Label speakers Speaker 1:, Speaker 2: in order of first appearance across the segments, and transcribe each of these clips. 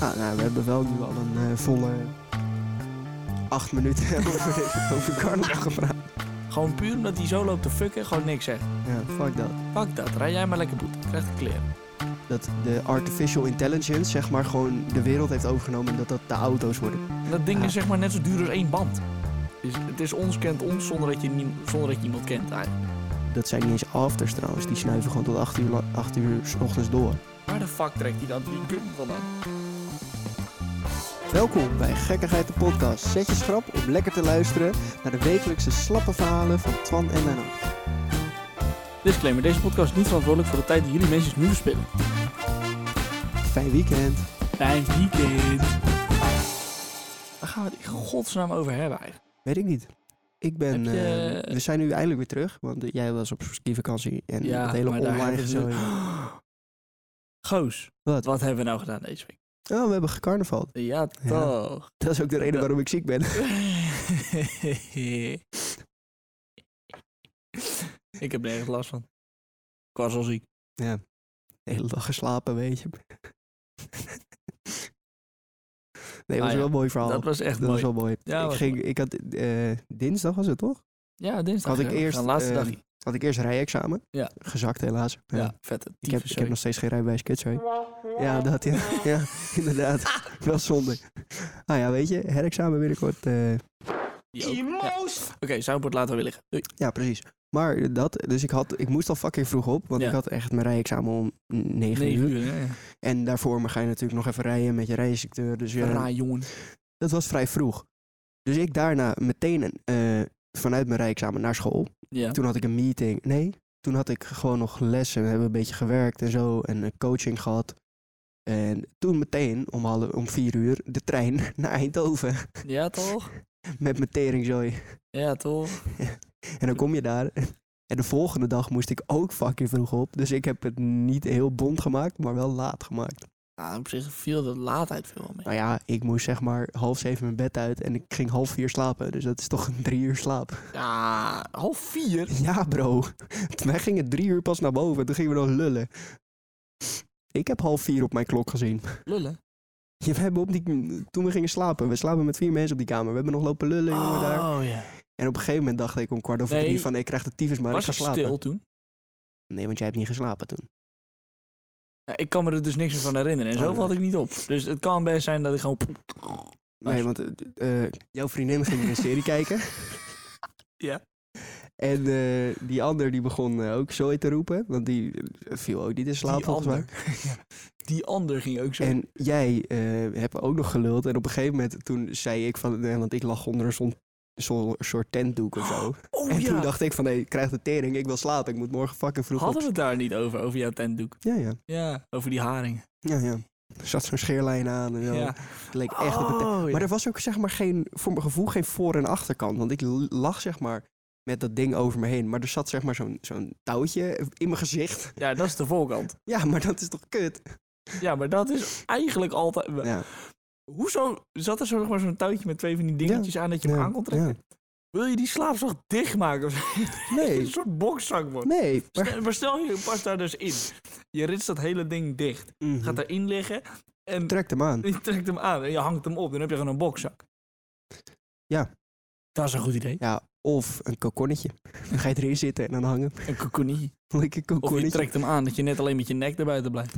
Speaker 1: Ah, nou, we hebben wel nu al een eh, volle acht minuten over, de- over carnaval gepraat.
Speaker 2: Gewoon puur omdat hij zo loopt te fucken, gewoon niks zegt.
Speaker 1: Ja, fuck dat.
Speaker 2: Pak dat, rij jij maar lekker boet. Krijg de kleren.
Speaker 1: Dat de artificial intelligence, zeg maar, gewoon de wereld heeft overgenomen en dat dat de auto's worden.
Speaker 2: Dat ding
Speaker 1: Ja.
Speaker 2: is zeg maar net zo duur als één band. Dus het is ons kent ons zonder dat je, nie- zonder dat je iemand kent eigenlijk.
Speaker 1: Dat zijn niet eens afters trouwens, die snuiven gewoon tot 8 uur, la- acht uur s ochtends door.
Speaker 2: Waar de fuck trekt hij dan die gun vandaan?
Speaker 1: Welkom bij Gekkigheid de Podcast. Zet je schrap om lekker te luisteren naar de wekelijkse slappe verhalen van Twan en Menno.
Speaker 2: Disclaimer, deze podcast is niet verantwoordelijk voor de tijd die jullie mensen nu verspillen.
Speaker 1: Fijn weekend.
Speaker 2: Fijn weekend. Waar gaan we het in godsnaam over hebben eigenlijk?
Speaker 1: Weet ik niet. Ik ben.
Speaker 2: Heb je-
Speaker 1: eh, we zijn nu eindelijk weer terug, want eh, jij was op skivakantie en
Speaker 2: Ja,
Speaker 1: het hele
Speaker 2: maar daar
Speaker 1: online
Speaker 2: hebben ze-
Speaker 1: gezoi.
Speaker 2: Goos,
Speaker 1: Wat?
Speaker 2: wat hebben we nou gedaan deze week?
Speaker 1: Oh, we hebben gecarnavald.
Speaker 2: Ja, toch.
Speaker 1: Dat is ook de reden
Speaker 2: Ja.
Speaker 1: waarom ik ziek ben.
Speaker 2: ik heb nergens last van. Ik was al ziek.
Speaker 1: De hele dag geslapen, weet je. Nee, dat was
Speaker 2: Ah, ja.
Speaker 1: wel een mooi verhaal.
Speaker 2: Dat was echt
Speaker 1: Oh, Dat
Speaker 2: mooi.
Speaker 1: was wel mooi.
Speaker 2: Ja,
Speaker 1: ik,
Speaker 2: was
Speaker 1: ging, ik had eh, dinsdag was het toch?
Speaker 2: Ja, dinsdag.
Speaker 1: Had ik
Speaker 2: hè? We
Speaker 1: eerst,
Speaker 2: gaan laatste
Speaker 1: eh,
Speaker 2: dag. Ja,
Speaker 1: Had ik eerst rijexamen.
Speaker 2: Ja.
Speaker 1: Gezakt helaas. Ja.
Speaker 2: vette
Speaker 1: Ik, heb,
Speaker 2: tyfus,
Speaker 1: ik heb nog
Speaker 2: sorry.
Speaker 1: steeds geen rijbewijs, kut, sorry. Ja, dat ja. ja inderdaad. wel zonde. Nou ja, weet je, herexamen binnenkort. eh,
Speaker 2: Die ook. Ja. Oké, Zuidpoort laten we weer liggen. Doei.
Speaker 1: Ja, precies. Maar dat, dus ik, had, ik moest al fucking vroeg op, want
Speaker 2: Ja.
Speaker 1: ik had echt mijn rijexamen om 9
Speaker 2: 9
Speaker 1: uur.
Speaker 2: uur, hè? Ja.
Speaker 1: En daarvoor maar ga je natuurlijk nog even rijden met je rijinstructeur. Dus ja,
Speaker 2: Raar, jongen.
Speaker 1: dat was vrij vroeg. Dus ik daarna meteen eh, vanuit mijn rijexamen naar school.
Speaker 2: Ja.
Speaker 1: Toen had ik een meeting. Nee, toen had ik gewoon nog lessen. We hebben een beetje gewerkt en zo. En eh, coaching gehad. En toen meteen om, half, om vier uur de trein naar Eindhoven.
Speaker 2: ja, toch?
Speaker 1: Met mijn teringzooi.
Speaker 2: Ja, toch?
Speaker 1: En dan kom je daar. En de volgende dag moest ik ook fucking vroeg op. Dus ik heb het niet heel bond gemaakt, maar wel laat gemaakt.
Speaker 2: Nou, op zich viel de laatheid veel wel mee.
Speaker 1: Nou ja, ik moest zeg maar half zeven mijn bed uit. En ik ging half vier slapen. Dus dat is toch een drie uur slaap.
Speaker 2: Ja, half vier?
Speaker 1: Ja, bro. Wij gingen drie uur pas naar boven. Toen gingen we nog lullen. Ik heb half vier op mijn klok gezien.
Speaker 2: Lullen.
Speaker 1: Ja, we hebben op die, toen we gingen slapen, we slapen met vier mensen op die kamer. We hebben nog lopen lullen, jongen, daar.
Speaker 2: Oh, ja.
Speaker 1: En op een gegeven moment dacht ik om kwart over
Speaker 2: Nee.
Speaker 1: drie van, ik krijg de tyfus, maar
Speaker 2: Was
Speaker 1: ik
Speaker 2: ik
Speaker 1: ga slapen.
Speaker 2: stil toen?
Speaker 1: Nee, want jij hebt niet geslapen toen.
Speaker 2: Ja, ik kan me er dus niks meer van herinneren. En
Speaker 1: Oh,
Speaker 2: zo
Speaker 1: nee.
Speaker 2: valt ik niet op. Dus het kan best zijn dat ik gewoon...
Speaker 1: Nee, want eh, eh, jouw vriendin ging een serie kijken.
Speaker 2: Ja.
Speaker 1: En eh, die ander die begon eh, ook zooi te roepen, want die eh, viel ook niet in slaap
Speaker 2: die
Speaker 1: volgens mij.
Speaker 2: ander. Ja. Die ander ging ook zo.
Speaker 1: En jij eh, hebt ook nog geluld. En op een gegeven moment toen zei ik van, nee, want ik lag onder een zo'n- zo'n soort tentdoek of zo.
Speaker 2: oh
Speaker 1: En
Speaker 2: ja,
Speaker 1: toen dacht ik van, nee, ik krijg de tering, ik wil slapen, ik moet morgen fucking vroeg
Speaker 2: hadden
Speaker 1: op.
Speaker 2: we het daar niet over, over jouw tentdoek?
Speaker 1: Ja, ja.
Speaker 2: Ja, over die haring.
Speaker 1: Ja, ja. Er zat zo'n scheerlijn aan en zo.
Speaker 2: Ja.
Speaker 1: Het leek echt op het...
Speaker 2: Oh, ja.
Speaker 1: Maar er was ook zeg maar geen, voor mijn gevoel, geen voor- en achterkant. Want ik l- lag zeg maar met dat ding over me heen. Maar er zat zeg maar zo'n zo'n touwtje in mijn gezicht.
Speaker 2: ja, dat is de voorkant.
Speaker 1: Ja, maar dat is toch kut?
Speaker 2: Ja, maar dat is eigenlijk altijd...
Speaker 1: Ja.
Speaker 2: Hoezo zat er zo, zeg maar, zo'n touwtje met twee van die dingetjes aan dat je hem
Speaker 1: Ja,
Speaker 2: aan kon trekken? Wil je die slaapzak dichtmaken? Of zo? een
Speaker 1: Nee,
Speaker 2: soort bokzak wordt.
Speaker 1: nee. Maar...
Speaker 2: Stel- Maar stel je past daar dus in. Je ritst dat hele ding dicht.
Speaker 1: Mhm.
Speaker 2: Gaat daarin liggen en
Speaker 1: Trek hem aan.
Speaker 2: je trekt hem aan en je hangt hem op. Dan heb je gewoon een bokzak.
Speaker 1: Ja.
Speaker 2: Dat is een goed idee.
Speaker 1: Ja, of een kokonnetje. Dan ga je erin zitten en dan hangen.
Speaker 2: Een cocoonie.
Speaker 1: Lekker
Speaker 2: Of je
Speaker 1: kokonnetje.
Speaker 2: trekt hem aan dat je net alleen met je nek erbuiten blijft.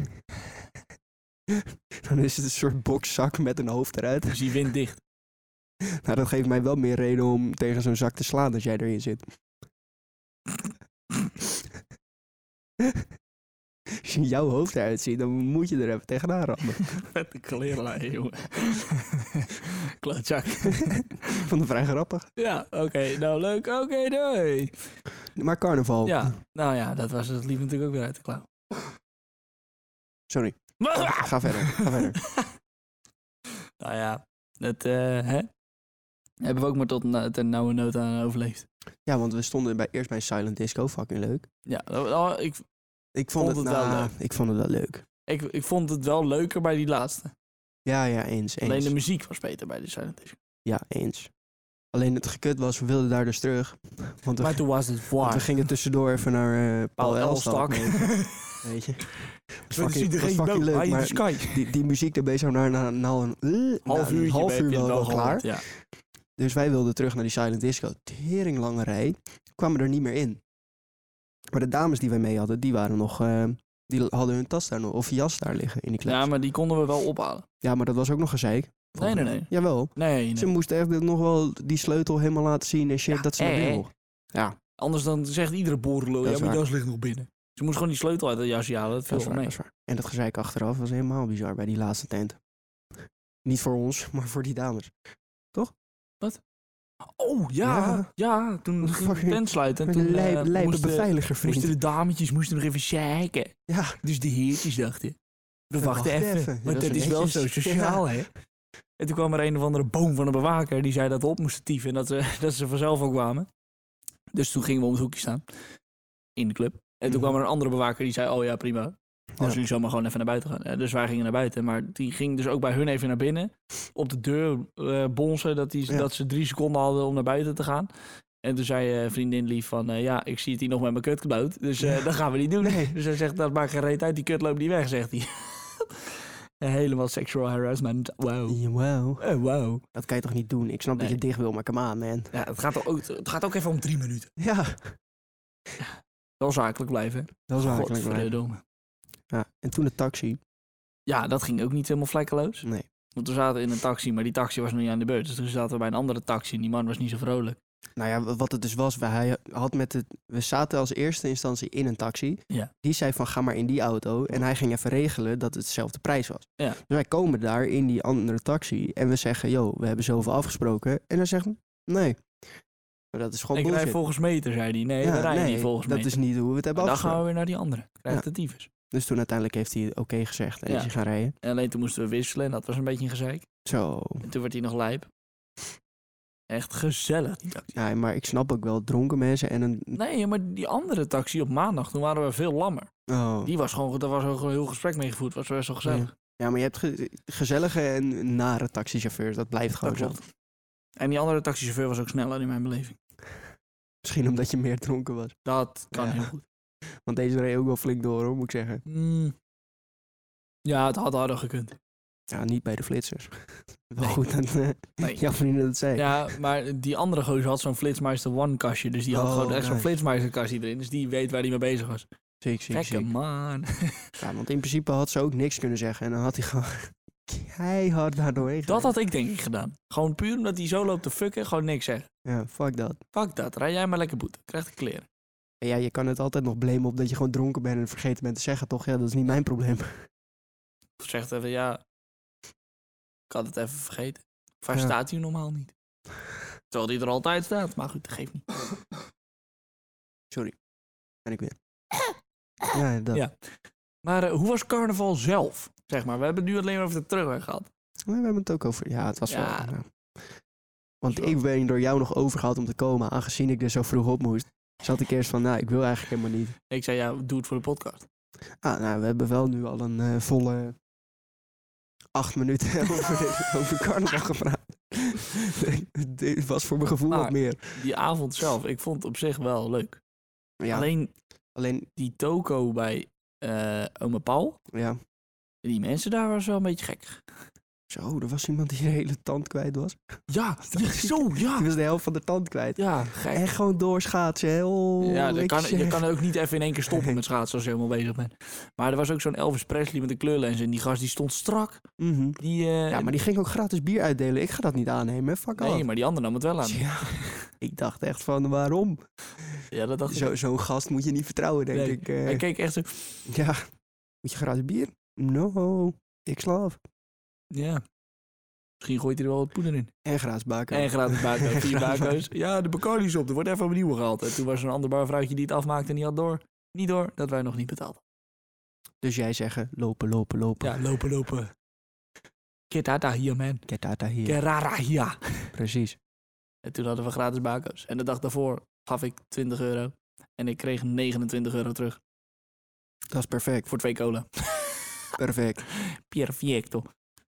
Speaker 1: Dan is het een soort bokzak met een hoofd eruit.
Speaker 2: Dus je wint dicht.
Speaker 1: Nou, dat geeft mij wel meer reden om tegen zo'n zak te slaan als jij erin zit. Als je jouw hoofd eruit ziet, dan moet je er even tegenaan rammen.
Speaker 2: Vette klerenlijn, jongen. Klootzak.
Speaker 1: Ik vond het vrij grappig.
Speaker 2: Ja, oké. nou, leuk. Oké, doei.
Speaker 1: Maar carnaval.
Speaker 2: Ja, nou ja, dat was het liep natuurlijk ook weer uit de klauw.
Speaker 1: Sorry. Ga, ga verder. Ga verder.
Speaker 2: Nou ja, dat eh, hè? hebben we ook maar tot na, ten nauwe nood aan overleefd.
Speaker 1: Ja, want we stonden bij, eerst bij Silent Disco. Fucking leuk.
Speaker 2: Ja, oh, ik,
Speaker 1: Ik vond, het,
Speaker 2: Vond het wel
Speaker 1: nou, Ik vond het wel leuk.
Speaker 2: ik, ik vond het wel leuker bij die laatste.
Speaker 1: Ja, ja, eens. eens.
Speaker 2: Alleen de muziek was beter bij de Silent Disco.
Speaker 1: Ja, eens. Alleen het gekut was, we wilden daar dus terug. Want we,
Speaker 2: Maar toen was het
Speaker 1: want we
Speaker 2: waar.
Speaker 1: gingen tussendoor even naar eh Paul Elstak. mee, Weet je. was
Speaker 2: Dat is
Speaker 1: fucking, was
Speaker 2: iedereen
Speaker 1: fucking
Speaker 2: dood.
Speaker 1: leuk,
Speaker 2: High in the
Speaker 1: maar
Speaker 2: sky.
Speaker 1: die, die muziek daarbij zou naar, naar, nou een, eh, na
Speaker 2: half
Speaker 1: een
Speaker 2: uurtje
Speaker 1: half
Speaker 2: heb
Speaker 1: uur
Speaker 2: je het
Speaker 1: wel, wel klaar.
Speaker 2: gehoord, Ja.
Speaker 1: Dus wij wilden terug naar die silent disco. Tering lange rij. Kwamen er niet meer in. Maar de dames die wij mee hadden, die waren nog... eh, die hadden hun tas daar nog, of jas daar liggen in die klas.
Speaker 2: ja, maar die konden we wel ophalen.
Speaker 1: Ja, maar dat was ook nog gezeik.
Speaker 2: Nee, nee, nee.
Speaker 1: Jawel.
Speaker 2: Nee,
Speaker 1: Ze
Speaker 2: nee.
Speaker 1: moesten echt dit nog wel die sleutel helemaal laten zien en shit,
Speaker 2: Ja,
Speaker 1: dat ze dat
Speaker 2: eh,
Speaker 1: weer
Speaker 2: eh.
Speaker 1: mocht.
Speaker 2: Anders dan zegt iedere borrelo,
Speaker 1: Dat
Speaker 2: ja,
Speaker 1: is
Speaker 2: maar die
Speaker 1: waar.
Speaker 2: jas ligt nog binnen. Ze moest gewoon die sleutel uit de jasje halen, dat viel
Speaker 1: Dat is
Speaker 2: wel
Speaker 1: waar,
Speaker 2: mee.
Speaker 1: dat is waar. En dat gezeik achteraf was helemaal bizar bij die laatste tent. Niet voor ons, maar voor die dames.
Speaker 2: Oh, ja,
Speaker 1: Ja.
Speaker 2: ja. toen ging de
Speaker 1: Fucking-
Speaker 2: tent sluiten. En
Speaker 1: Met
Speaker 2: toen
Speaker 1: een
Speaker 2: eh,
Speaker 1: lijp, lijpe
Speaker 2: moesten,
Speaker 1: beveiliger, vriend.
Speaker 2: moesten de dametjes moesten nog even zeiken.
Speaker 1: Ja,
Speaker 2: Dus de heertjes dachten, we wachten
Speaker 1: wachten
Speaker 2: even.
Speaker 1: even. Ja,
Speaker 2: Want
Speaker 1: dat is
Speaker 2: dat is wel zo
Speaker 1: netjes.
Speaker 2: sociaal, hè. En toen kwam er een of andere boom van een bewaker. Die zei dat we op moesten tieven en dat ze, dat ze vanzelf ook kwamen. Dus toen gingen we om het hoekje staan. In de club. En
Speaker 1: Mhm.
Speaker 2: toen kwam er een andere bewaker die zei, oh ja, prima. Als
Speaker 1: Ja.
Speaker 2: jullie zomaar gewoon even naar buiten gaan. Eh, Dus wij gingen naar buiten. Maar die ging dus ook bij hun even naar binnen. Op de deur eh, bonzen dat, die,
Speaker 1: Ja.
Speaker 2: dat ze drie seconden hadden om naar buiten te gaan. En toen zei eh, vriendin Lief van... eh, ja, ik zie het hier nog met mijn kut gebouwd. Dus eh,
Speaker 1: Ja.
Speaker 2: dat gaan we niet doen.
Speaker 1: Nee.
Speaker 2: Dus hij zegt, dat maakt geen reet uit. Die kut loopt niet weg, zegt hij. Helemaal sexual harassment. Wow.
Speaker 1: Jawel.
Speaker 2: Eh, wow.
Speaker 1: Dat kan je toch niet doen? Ik snap dat
Speaker 2: Nee.
Speaker 1: je dicht wil, maar come on, man.
Speaker 2: Ja, het, gaat ook, het gaat ook even om drie minuten.
Speaker 1: Ja,
Speaker 2: Wel zakelijk blijven.
Speaker 1: dat is eigenlijk waar.
Speaker 2: Godverdomme.
Speaker 1: Ja. En toen de taxi.
Speaker 2: Ja, dat ging ook niet helemaal vlekkeloos.
Speaker 1: Nee.
Speaker 2: Want we zaten in een taxi, maar die taxi was nog niet aan de beurt. Dus toen zaten we bij een andere taxi en die man was niet zo vrolijk.
Speaker 1: Nou ja, wa- wat het dus was, we, hij had met het, we zaten als eerste instantie in een taxi.
Speaker 2: Ja.
Speaker 1: Die zei van ga maar in die auto. En hij ging even regelen dat het dezelfde prijs was.
Speaker 2: Ja.
Speaker 1: Dus wij komen daar in die andere taxi en we zeggen, yo, we hebben zoveel afgesproken. En hij zegt, nee. Maar dat is gewoon
Speaker 2: ik
Speaker 1: bullshit.
Speaker 2: rij volgens meter, zei hij. Nee,
Speaker 1: Ja,
Speaker 2: we rijden
Speaker 1: nee,
Speaker 2: niet volgens
Speaker 1: dat
Speaker 2: meter.
Speaker 1: is niet hoe we het hebben
Speaker 2: En dan
Speaker 1: afgesproken.
Speaker 2: gaan we weer naar die andere. Krijgt
Speaker 1: Ja.
Speaker 2: de tyfus.
Speaker 1: Dus toen uiteindelijk heeft hij oké gezegd en
Speaker 2: Ja.
Speaker 1: is hij gaan rijden.
Speaker 2: En alleen toen moesten we wisselen en dat was een beetje een gezeik.
Speaker 1: Zo.
Speaker 2: En toen werd hij nog lijp. Echt gezellig, die taxi.
Speaker 1: Ja, maar ik snap ook wel dronken mensen en een...
Speaker 2: Nee, maar die andere taxi op maandag, toen waren we veel lammer.
Speaker 1: Oh.
Speaker 2: Die was gewoon, daar was ook een heel gesprek mee gevoerd. Was best wel gezellig.
Speaker 1: Ja, maar je hebt ge- gezellige en nare taxichauffeurs. Dat blijft gewoon
Speaker 2: dat
Speaker 1: zo.
Speaker 2: klopt. En die andere taxichauffeur was ook sneller in mijn beleving.
Speaker 1: Misschien omdat je meer dronken was.
Speaker 2: Dat kan
Speaker 1: Ja.
Speaker 2: heel goed.
Speaker 1: Want deze reed ook wel flink door, hoor, moet ik zeggen.
Speaker 2: Mm. Ja, het had harder gekund.
Speaker 1: Ja, niet bij de flitsers. wel
Speaker 2: Nee.
Speaker 1: goed dat eh
Speaker 2: Nee.
Speaker 1: jouw vriendin dat zei.
Speaker 2: Ja, maar die andere gozer had zo'n Flitsmeister One kastje. Dus die had
Speaker 1: Oh,
Speaker 2: gewoon echt zo'n
Speaker 1: nice.
Speaker 2: Flitsmeister kastje erin. Dus die weet waar hij mee bezig was.
Speaker 1: Zeker, zeker,
Speaker 2: Gekke
Speaker 1: zeker.
Speaker 2: man.
Speaker 1: Ja, want in principe had ze ook niks kunnen zeggen. En dan had hij gewoon keihard daar doorheen
Speaker 2: Dat
Speaker 1: gereden.
Speaker 2: had ik denk ik gedaan. Gewoon puur omdat hij zo loopt te fucken. Gewoon niks zeggen.
Speaker 1: Ja, fuck dat.
Speaker 2: Fuck dat. Rij jij maar lekker boete. Krijg de kleren.
Speaker 1: En ja, je kan het altijd nog blamen op dat je gewoon dronken bent en vergeten bent te zeggen, toch? Ja, dat is niet mijn probleem.
Speaker 2: Of zegt even, ja, ik had het even vergeten. Of hij
Speaker 1: Ja.
Speaker 2: staat hier normaal niet. Terwijl die er altijd staat. Maar goed, dat geeft niet.
Speaker 1: Sorry. En ik weer. Ja, dat.
Speaker 2: Ja. Maar eh, hoe was carnaval zelf? Zeg maar, we hebben het nu alleen maar over de terugweg gehad.
Speaker 1: We hebben het ook over. Ja, het was
Speaker 2: Ja.
Speaker 1: wel. ja. Want
Speaker 2: Zo.
Speaker 1: ik ben door jou nog overgehaald om te komen, aangezien ik er zo vroeg op moest. Zat ik eerst van, nou, ik wil eigenlijk helemaal niet.
Speaker 2: Ik zei, ja, doe het voor de podcast.
Speaker 1: Ah, nou, we hebben wel nu al een eh, volle acht minuten over, over carnaval gepraat. Het was voor mijn gevoel wat
Speaker 2: Maar-
Speaker 1: meer.
Speaker 2: Die avond zelf, ik vond het op zich wel leuk.
Speaker 1: Ja, alleen,
Speaker 2: Alleen die toko bij eh oma Paul,
Speaker 1: ja.
Speaker 2: die mensen daar was wel een beetje gek.
Speaker 1: Zo, er was iemand die de hele tand kwijt was.
Speaker 2: Ja, ja, zo, ja.
Speaker 1: Die was de helft van de tand kwijt.
Speaker 2: Ja, gek.
Speaker 1: En gewoon doorschaatsen, heel
Speaker 2: Ja, dat kan,
Speaker 1: netjes,
Speaker 2: je
Speaker 1: eh.
Speaker 2: kan ook niet even in één keer stoppen met schaatsen als je helemaal bezig bent. Maar er was ook zo'n Elvis Presley met een kleurlens en die gast die stond strak.
Speaker 1: Mhm.
Speaker 2: Die, eh,
Speaker 1: Ja, maar die ging ook gratis bier uitdelen. Ik ga dat niet aannemen, fuck
Speaker 2: Nee,
Speaker 1: off.
Speaker 2: maar die andere nam het wel aan.
Speaker 1: Ja, ik dacht echt van, waarom?
Speaker 2: Ja, dat dacht ik.
Speaker 1: Zo- Zo'n gast moet je niet vertrouwen, denk
Speaker 2: Nee.
Speaker 1: ik. eh.
Speaker 2: Hij keek echt zo...
Speaker 1: Ja, moet je gratis bier? No, ik slaaf.
Speaker 2: Ja. Misschien gooit hij er wel wat poeder in.
Speaker 1: En gratis baken.
Speaker 2: En gratis
Speaker 1: En
Speaker 2: bako's, vier
Speaker 1: gratis
Speaker 2: bako's. Ja, de Bacardi is op, er wordt even opnieuw gehaald. En toen was er een ander barvrouwtje die het afmaakte en die had door. Niet door, dat wij nog niet betaald.
Speaker 1: Dus jij zeggen, lopen, lopen, lopen.
Speaker 2: Ja, lopen, lopen. Kerata hier, man.
Speaker 1: Get out of here.
Speaker 2: Kerara hier.
Speaker 1: Precies.
Speaker 2: En toen hadden we gratis bako's. En de dag daarvoor gaf ik 20 euro. En ik kreeg 29 euro terug
Speaker 1: Dat is perfect.
Speaker 2: voor twee cola.
Speaker 1: Perfect.
Speaker 2: Perfecto.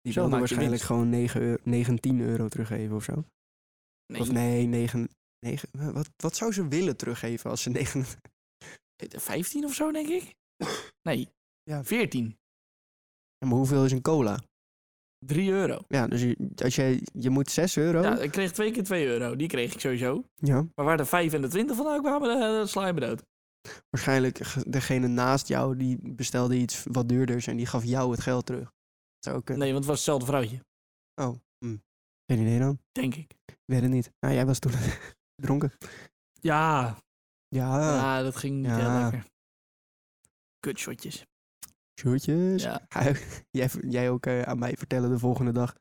Speaker 1: Die
Speaker 2: Zo
Speaker 1: wilde
Speaker 2: maak je
Speaker 1: waarschijnlijk
Speaker 2: winst.
Speaker 1: gewoon 9 euro, 19 euro teruggeven of zo.
Speaker 2: Nee,
Speaker 1: Of nee, 9... 9 wat, wat zou ze willen teruggeven als ze 9...
Speaker 2: 15 of zo, denk ik. Nee,
Speaker 1: Ja.
Speaker 2: 14.
Speaker 1: Ja, maar hoeveel is een cola?
Speaker 2: 3 euro.
Speaker 1: Ja, dus je, als jij, je moet 6 euro.
Speaker 2: Ja,
Speaker 1: Ja.
Speaker 2: ik kreeg twee keer 2 euro. Die kreeg ik sowieso. Maar waar de 5 en de 20 vandaan kwamen, eh, dat sla je me dood.
Speaker 1: Waarschijnlijk ge- degene naast jou die bestelde iets wat duurders en die gaf jou het geld terug. Zou ook kunnen.
Speaker 2: Nee, want het was hetzelfde vrouwtje.
Speaker 1: Oh, hm. geen idee dan.
Speaker 2: Denk ik.
Speaker 1: Weet het niet. Nou, jij was toen dronken.
Speaker 2: Ja,
Speaker 1: Ja,
Speaker 2: ja Ah, dat ging niet
Speaker 1: Ah. Ja.
Speaker 2: heel lekker. Kutshotjes.
Speaker 1: shortjes.
Speaker 2: Ja.
Speaker 1: Hij- jij, jij ook eh, aan mij vertellen de volgende dag.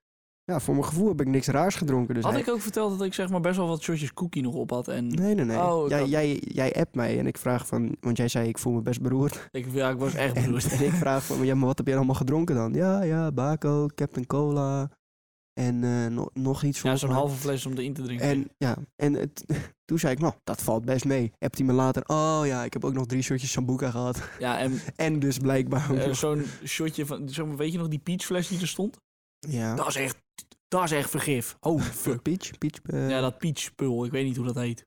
Speaker 1: Ja, voor mijn gevoel heb ik niks raars gedronken. Dus
Speaker 2: Had
Speaker 1: hij-
Speaker 2: ik ook verteld dat ik zeg maar best wel wat shotjes cookie nog op had. En
Speaker 1: Nee, nee, nee.
Speaker 2: Oh, ik
Speaker 1: jij,
Speaker 2: had-
Speaker 1: jij, jij appt mij en ik vraag van... Want jij zei, ik voel me best beroerd.
Speaker 2: ik, ja, ik was echt
Speaker 1: En,
Speaker 2: beroerd.
Speaker 1: en ik vraag van, ja, maar wat heb jij allemaal gedronken dan? Ja, ja, Baco, Captain Cola en eh, no- nog iets.
Speaker 2: Ja,
Speaker 1: volgens
Speaker 2: zo'n
Speaker 1: mij.
Speaker 2: halve fles om erin te drinken.
Speaker 1: En, ja, en het, toen zei ik, nou, dat valt best mee. Appt hij me later, oh ja, ik heb ook nog drie shotjes Sambuca gehad.
Speaker 2: ja, en
Speaker 1: En dus blijkbaar ook
Speaker 2: eh,
Speaker 1: nog-
Speaker 2: zo'n shotje van... Zo, weet je nog die peachfles die er stond?
Speaker 1: Ja,
Speaker 2: Dat is echt... Dat is echt vergif. Oh, fuck.
Speaker 1: peach, peach. eh,
Speaker 2: Ja, dat peachspul. Ik weet niet hoe dat heet.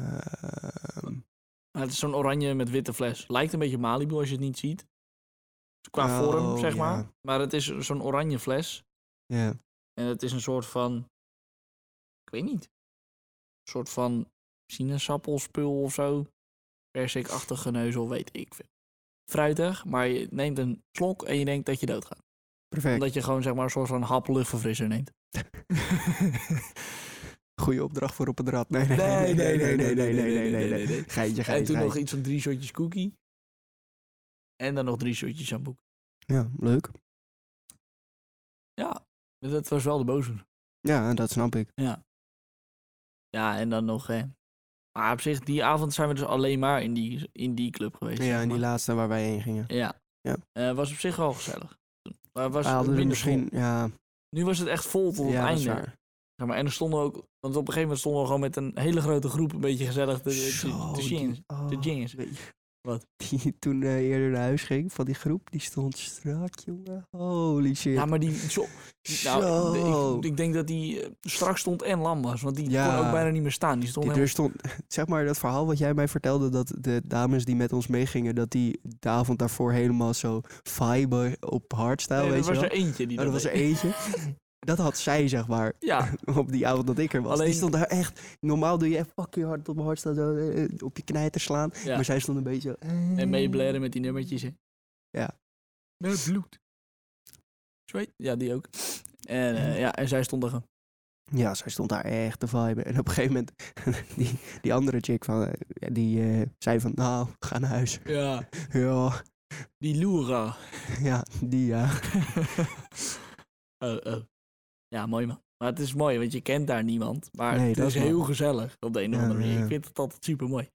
Speaker 1: ehm,
Speaker 2: Maar het is zo'n oranje met witte fles. Lijkt een beetje Malibu als je het niet ziet. Qua
Speaker 1: Oh,
Speaker 2: vorm, zeg
Speaker 1: ja.
Speaker 2: maar. Maar het is zo'n oranje fles.
Speaker 1: ja.
Speaker 2: En het is een soort van... Ik weet niet. Een soort van sinaasappelspul of zo. Persikachtig geneuzel, weet ik veel. Fruitig, maar je neemt een slok en je denkt dat je doodgaat.
Speaker 1: perfect.
Speaker 2: Omdat je gewoon zeg maar een soort van hap luchtverfrisser neemt.
Speaker 1: Goeie opdracht voor op het rad. Nee, nee,
Speaker 2: Nee,
Speaker 1: nee, nee, nee, nee, nee, nee, nee, nee,
Speaker 2: nee, nee.
Speaker 1: Geintje,
Speaker 2: En
Speaker 1: geintje,
Speaker 2: toen nog
Speaker 1: geintje.
Speaker 2: iets van drie shotjes cookie. En dan nog drie shotjes aan boek.
Speaker 1: Ja, leuk.
Speaker 2: Ja, dat was wel de boze.
Speaker 1: Ja, dat snap ik.
Speaker 2: Ja, en dan nog... Hè. Maar op zich, die avond zijn we dus alleen maar in die, in die club geweest. zeg
Speaker 1: Ja, en
Speaker 2: maar.
Speaker 1: die laatste waar wij heen gingen.
Speaker 2: Ja.
Speaker 1: Ja.
Speaker 2: Eh, was op zich wel gezellig. Maar was
Speaker 1: Ah, hadden we
Speaker 2: minder
Speaker 1: misschien...
Speaker 2: vol.
Speaker 1: Ja,
Speaker 2: Nu was het echt vol tot
Speaker 1: ja,
Speaker 2: het
Speaker 1: dat is
Speaker 2: einde.
Speaker 1: waar.
Speaker 2: Zeg maar, en er stonden ook... Want op een gegeven moment stonden we gewoon met een hele grote groep... een beetje gezellig te, te,
Speaker 1: Zo,
Speaker 2: te
Speaker 1: die-
Speaker 2: zien.
Speaker 1: oh,
Speaker 2: jeans.
Speaker 1: weet je-
Speaker 2: Wat?
Speaker 1: Die toen eh, eerder naar huis ging van die groep, die stond strak, jongen. Holy shit.
Speaker 2: Ja, maar die... Zo, nou, de-
Speaker 1: Zo.
Speaker 2: ik, ik denk dat die eh, strak stond en lam was. Want die
Speaker 1: Ja.
Speaker 2: kon ook bijna niet meer staan. Die stond
Speaker 1: Die,
Speaker 2: helemaal...
Speaker 1: er stond, zeg maar, dat verhaal wat jij mij vertelde, dat de dames die met ons meegingen, dat die de avond daarvoor helemaal zo vibe op hardstyle,
Speaker 2: Nee,
Speaker 1: weet
Speaker 2: er
Speaker 1: je wel.
Speaker 2: was er eentje die
Speaker 1: Oh, dat was er
Speaker 2: deed.
Speaker 1: eentje. Dat had zij, zeg maar,
Speaker 2: Ja,
Speaker 1: op die avond dat ik er was.
Speaker 2: Alleen-
Speaker 1: Die stond daar echt... Normaal doe je echt fucking hard op mijn hart staan, zo, eh, eh, op je knijter slaan.
Speaker 2: Ja.
Speaker 1: Maar zij stond een beetje zo... eh.
Speaker 2: en meeblaren met die nummertjes, hè.
Speaker 1: Ja.
Speaker 2: Met bloed. Zweet. Ja, die ook. En, eh, ja, en zij stond er gewoon.
Speaker 1: Ja, zij stond daar echt te viben. En op een gegeven moment, die, die andere chick van, eh, die eh, zei van... Nou, ga naar huis.
Speaker 2: Ja,
Speaker 1: Ja,
Speaker 2: die Loera.
Speaker 1: ja, die ja.
Speaker 2: oh, oh. Ja, mooi man. Maar het is mooi, want je kent daar niemand. Maar
Speaker 1: Nee,
Speaker 2: het
Speaker 1: dat
Speaker 2: is
Speaker 1: is
Speaker 2: heel
Speaker 1: mooi.
Speaker 2: gezellig op de een of
Speaker 1: Ja,
Speaker 2: andere manier.
Speaker 1: ja.
Speaker 2: Ik vind het altijd super mooi.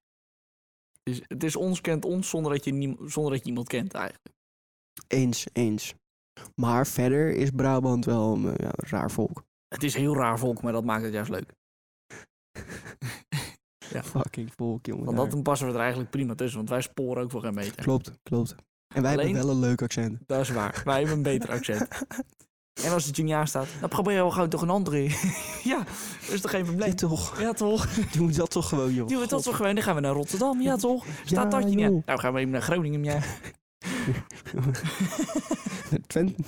Speaker 2: Dus het is ons kent ons zonder dat je, niem- zonder dat je iemand kent eigenlijk.
Speaker 1: Eens, eens. Maar verder is Brabant wel een eh, ja, raar volk.
Speaker 2: Het is heel raar volk, maar dat maakt het juist leuk. Ja.
Speaker 1: Fucking volk, jongen.
Speaker 2: Want
Speaker 1: daar.
Speaker 2: dat passen we er eigenlijk prima tussen, want wij sporen ook voor geen meter.
Speaker 1: Klopt, klopt. En wij
Speaker 2: Alleen-
Speaker 1: hebben wel een leuk accent.
Speaker 2: Dat is waar. Wij hebben een beter accent. En als het je niet aanstaat, dan probeer je wel gauw toch een andere. ja, dat is toch geen probleem?
Speaker 1: Ja, toch.
Speaker 2: Ja, toch?
Speaker 1: Doen dat toch gewoon, joh.
Speaker 2: Doen we dat
Speaker 1: God.
Speaker 2: toch gewoon? Dan gaan we naar Rotterdam, ja toch? Staat
Speaker 1: Ja,
Speaker 2: dat je niet?
Speaker 1: joh.
Speaker 2: aan? Nou, gaan we even naar Groningen, ja.
Speaker 1: Twente.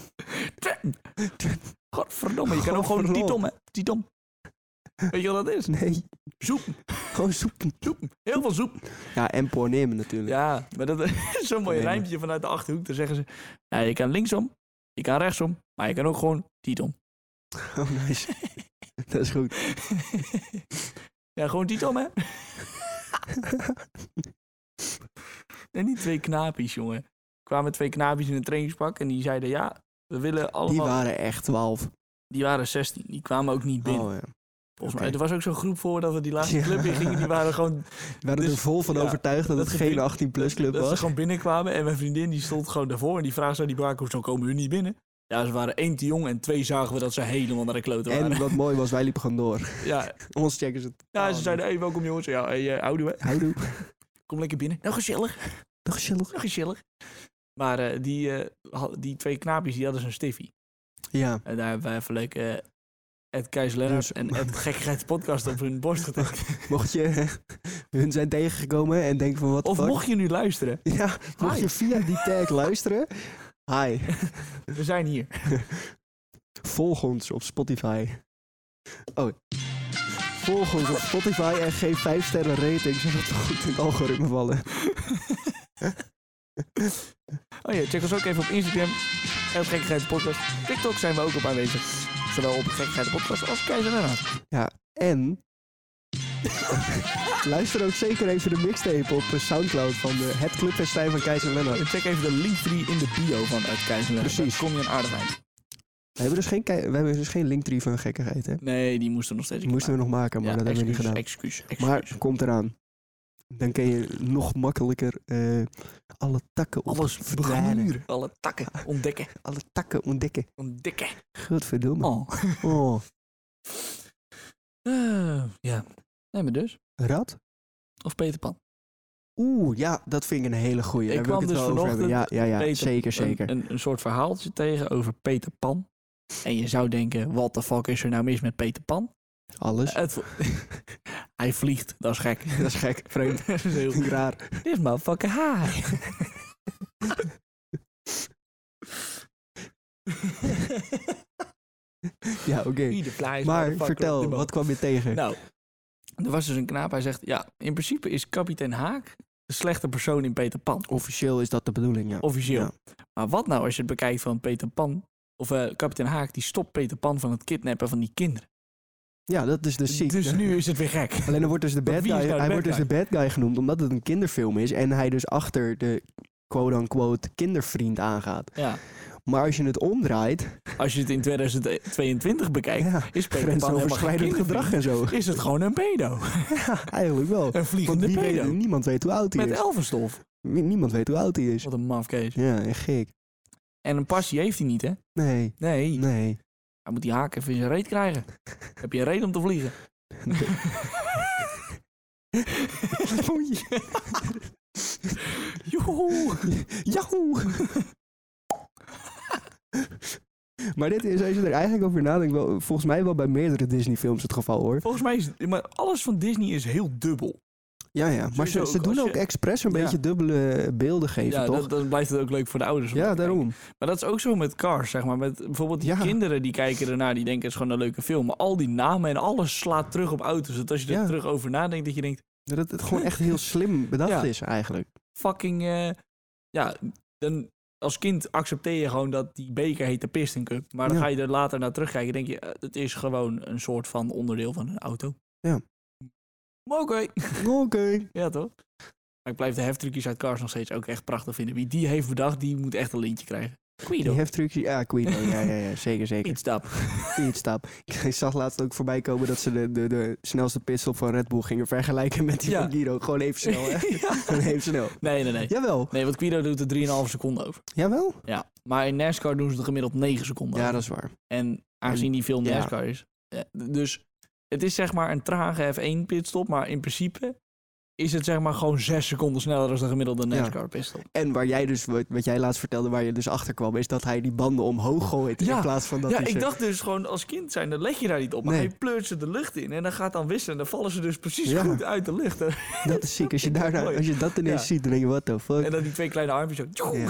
Speaker 2: Godverdomme, je kan ook gewoon
Speaker 1: Godverdomme.
Speaker 2: Tietom, hè? Tietom. Weet je wat dat is?
Speaker 1: Nee,
Speaker 2: Zoep,
Speaker 1: gewoon soepen.
Speaker 2: zoep. Heel veel zoep.
Speaker 1: Ja, en pornemen natuurlijk.
Speaker 2: Ja, maar dat is zo'n mooi
Speaker 1: Nee, maar-
Speaker 2: rijmpje vanuit de Achterhoek. Dan zeggen ze, ja, je kan linksom, je kan rechtsom, maar je kan ook gewoon Tietom.
Speaker 1: Oh, nice. dat is goed.
Speaker 2: ja, gewoon Tietom, hè? En die twee knaapjes, jongen. Er kwamen twee knaapjes in een trainingspak en die zeiden, ja, we willen
Speaker 1: Die
Speaker 2: allemaal...
Speaker 1: waren echt 12.
Speaker 2: die waren 16, die kwamen ook niet binnen.
Speaker 1: Oh, ja.
Speaker 2: Volgens mij.
Speaker 1: Oké.
Speaker 2: Er was ook zo'n groep voor dat we die laatste
Speaker 1: Ja.
Speaker 2: club in gingen. Die waren gewoon,
Speaker 1: We waren
Speaker 2: Dus,
Speaker 1: er vol van
Speaker 2: ja,
Speaker 1: overtuigd dat,
Speaker 2: dat
Speaker 1: het
Speaker 2: gebied-
Speaker 1: geen 18 plus club
Speaker 2: dat ze
Speaker 1: was.
Speaker 2: gewoon binnenkwamen. En mijn vriendin die stond gewoon daarvoor. En die vraagt zo die braak, hoezo komen hun niet binnen? Ja, ze waren één te jong en twee zagen we dat ze helemaal naar de klote waren.
Speaker 1: En wat mooi was, wij liepen gewoon door.
Speaker 2: Ja,
Speaker 1: Ons checken ze het.
Speaker 2: ja ze zeiden, hey, welkom jongens. Ja, hey, eh, houdoe, hè.
Speaker 1: Houdoe.
Speaker 2: Kom lekker binnen. Nou, gezellig.
Speaker 1: Nog gezellig.
Speaker 2: Nou, gezellig. Maar eh, die, eh, had- die twee knaapjes, die hadden zo'n stiffie.
Speaker 1: Ja.
Speaker 2: En daar hebben wij even leuk... eh Ed Keijs Lennart
Speaker 1: Dus-
Speaker 2: en Ed Gekkigheid Podcast op hun borst getikt.
Speaker 1: Mocht je hun zijn tegengekomen en denken van wat
Speaker 2: Of mocht je nu luisteren,
Speaker 1: Ja, mocht
Speaker 2: Hi.
Speaker 1: je via die tag luisteren. Hi,
Speaker 2: we zijn hier.
Speaker 1: volg ons op Spotify. Oh. Volg ons op Spotify en geef 5 sterren rating, zodat we goed in het algoritme vallen.
Speaker 2: Oh ja, check ons ook even op Instagram. En op Gekkigheid de Podcast. TikTok zijn we ook op aanwezig. Zowel op Gekkigheid de Podcast als Keizer en Raad.
Speaker 1: En luister ook zeker even de mixtape op eh, Soundcloud van de Het Clubfestijn van Keizer Lennart.
Speaker 2: En check even de link 3 in de bio van uit Keizer en Raad.
Speaker 1: Precies.
Speaker 2: Dan kom je een aardig eind.
Speaker 1: We hebben dus geen, kei- we hebben dus geen linktree van gekkigheid, hè?
Speaker 2: Nee, die moesten we nog steeds
Speaker 1: Die moesten we nog maken, maar dat hebben we niet gedaan.
Speaker 2: Excuus, excuus.
Speaker 1: Maar komt eraan. Dan kun je nog makkelijker eh, alle takken op
Speaker 2: Alles
Speaker 1: verdwijnen.
Speaker 2: begluren. Alle takken ontdekken.
Speaker 1: Alle takken ontdekken.
Speaker 2: Ontdekken.
Speaker 1: Godverdomme.
Speaker 2: Oh.
Speaker 1: Oh.
Speaker 2: Eh, ja. Nee, maar dus.
Speaker 1: Rad?
Speaker 2: Of Peter Pan.
Speaker 1: Oeh, ja, dat vind ik een hele goeie.
Speaker 2: Ik
Speaker 1: Daar wil
Speaker 2: kwam
Speaker 1: ik het
Speaker 2: dus
Speaker 1: wel over hebben. Ja,
Speaker 2: vanochtend
Speaker 1: ja, ja,
Speaker 2: Peter-
Speaker 1: zeker, zeker.
Speaker 2: Een, een, een soort verhaaltje tegen over Peter Pan. En je zou denken, wat de fuck is er nou mis met Peter Pan?
Speaker 1: Alles.
Speaker 2: Het vo- hij vliegt, dat is gek.
Speaker 1: dat is gek, vreemd.
Speaker 2: dat is heel...
Speaker 1: Vind ik raar.
Speaker 2: Dit is motherfucking high.
Speaker 1: Ja, oké.
Speaker 2: Ieder fly is
Speaker 1: Maar
Speaker 2: motherfucker op
Speaker 1: vertel,
Speaker 2: de
Speaker 1: wat kwam je tegen?
Speaker 2: boot. Nou, er was dus een knaap. Hij zegt, ja, in principe is kapitein Haak de slechte persoon in Peter Pan.
Speaker 1: Officieel is dat de bedoeling, ja.
Speaker 2: Officieel.
Speaker 1: Ja.
Speaker 2: Maar wat nou als je het bekijkt van Peter Pan... Of eh, kapitein Haak, die stopt Peter Pan van het kidnappen van die kinderen.
Speaker 1: Ja, dat is dus ziek.
Speaker 2: Dus nu is het weer gek.
Speaker 1: Alleen dan wordt dus de
Speaker 2: Maar
Speaker 1: bad guy,
Speaker 2: wie is nou de
Speaker 1: hij
Speaker 2: bad
Speaker 1: wordt dus de
Speaker 2: guy?
Speaker 1: bad guy genoemd omdat het een kinderfilm is en hij dus achter de quote-unquote kindervriend aangaat.
Speaker 2: Ja.
Speaker 1: Maar als je het omdraait,
Speaker 2: Als je het in 2022 bekijkt,
Speaker 1: ja,
Speaker 2: is Peter Pan helemaal geen
Speaker 1: grensoverschrijdend
Speaker 2: kindervriend.
Speaker 1: gedrag en zo.
Speaker 2: Is het gewoon een pedo.
Speaker 1: Ja, eigenlijk wel.
Speaker 2: Een
Speaker 1: Want
Speaker 2: vliegende
Speaker 1: wie
Speaker 2: pedo.
Speaker 1: weet, niemand weet hoe oud hij
Speaker 2: Met Oh.
Speaker 1: is.
Speaker 2: elfenstof.
Speaker 1: Wie- Niemand weet hoe oud hij is.
Speaker 2: Wat een mafkees.
Speaker 1: Ja, echt gek.
Speaker 2: En een passie heeft hij niet, hè?
Speaker 1: Nee,
Speaker 2: Nee.
Speaker 1: nee.
Speaker 2: Hij moet die haak even in zijn reet krijgen. Heb je een reden om te vliegen?
Speaker 1: Oei,
Speaker 2: Joehoe.
Speaker 1: Yahoo! maar dit is, als je er eigenlijk over nadenkt, wel, volgens mij wel bij meerdere Disney-films het geval hoor.
Speaker 2: Volgens mij is maar alles van Disney is heel dubbel.
Speaker 1: Ja, ja. Maar
Speaker 2: Sowieso
Speaker 1: ze, ze
Speaker 2: ook
Speaker 1: doen
Speaker 2: als
Speaker 1: ook
Speaker 2: je-
Speaker 1: expres een
Speaker 2: Ja.
Speaker 1: beetje dubbele beelden geven,
Speaker 2: ja,
Speaker 1: toch?
Speaker 2: dat, dan blijft het ook leuk voor de ouders. om
Speaker 1: ja,
Speaker 2: te kijken.
Speaker 1: daarom.
Speaker 2: Maar dat is ook zo met Cars, zeg maar. Met bijvoorbeeld die
Speaker 1: Ja.
Speaker 2: kinderen die kijken ernaar, die denken het is gewoon een leuke film. Maar al die namen en alles slaat terug op auto's. Dat als je er
Speaker 1: Ja.
Speaker 2: terug over nadenkt, dat je denkt,
Speaker 1: Dat het gewoon echt heel slim bedacht
Speaker 2: Ja.
Speaker 1: is eigenlijk.
Speaker 2: fucking... eh, ja, dan als kind accepteer je gewoon dat die beker heet de Piston Cup. Maar dan
Speaker 1: Ja.
Speaker 2: ga je er later naar terugkijken denk je... eh, het is gewoon een soort van onderdeel van een auto.
Speaker 1: Ja.
Speaker 2: Maar oké.
Speaker 1: Oké.
Speaker 2: Ja, toch? Maar ik blijf de heftrucjes uit Cars nog steeds ook echt prachtig vinden. Wie die heeft bedacht, die moet echt een lintje krijgen.
Speaker 1: Die
Speaker 2: Guido,
Speaker 1: heftrucjes. Ja, Queen. Ja, ja, ja, zeker, zeker.
Speaker 2: pitstop.
Speaker 1: Pitstop. Ik zag laatst ook voorbij komen dat ze de, de, de snelste pitstop van Red Bull gingen vergelijken met die
Speaker 2: Ja.
Speaker 1: van Guido. Gewoon even snel, hè?
Speaker 2: Ja.
Speaker 1: Gewoon even snel.
Speaker 2: Nee, nee, nee.
Speaker 1: Jawel.
Speaker 2: Nee, want Guido doet er 3,5 seconden over.
Speaker 1: Jawel?
Speaker 2: Ja. Maar in NASCAR doen ze er gemiddeld 9 seconden
Speaker 1: Ja,
Speaker 2: over.
Speaker 1: dat is waar.
Speaker 2: En aangezien die film
Speaker 1: Ja.
Speaker 2: NASCAR is. eh, d- Dus het is zeg maar een trage F1 pitstop, maar in principe is het zeg maar gewoon zes seconden sneller dan de gemiddelde
Speaker 1: Ja.
Speaker 2: NASCAR pitstop.
Speaker 1: En waar jij dus, wat, wat jij laatst vertelde, waar je dus achter kwam, is dat hij die banden omhoog gooit.
Speaker 2: Ja.
Speaker 1: In plaats van dat
Speaker 2: ja,
Speaker 1: hij
Speaker 2: ik
Speaker 1: ze-
Speaker 2: dacht dus gewoon als kind zijn, dan leg je daar niet op. Maar
Speaker 1: Nee.
Speaker 2: hij pleurt ze de lucht in en dan gaat dan wisselen en dan vallen ze dus precies
Speaker 1: Ja.
Speaker 2: goed uit de lucht. En,
Speaker 1: Dat is ziek. Als je,
Speaker 2: Ik dacht,
Speaker 1: daarna,
Speaker 2: mooi.
Speaker 1: als je dat ineens
Speaker 2: Ja.
Speaker 1: ziet, dan denk je, what the fuck?
Speaker 2: en dan die twee kleine armpjes ook. tjoe.
Speaker 1: Ja.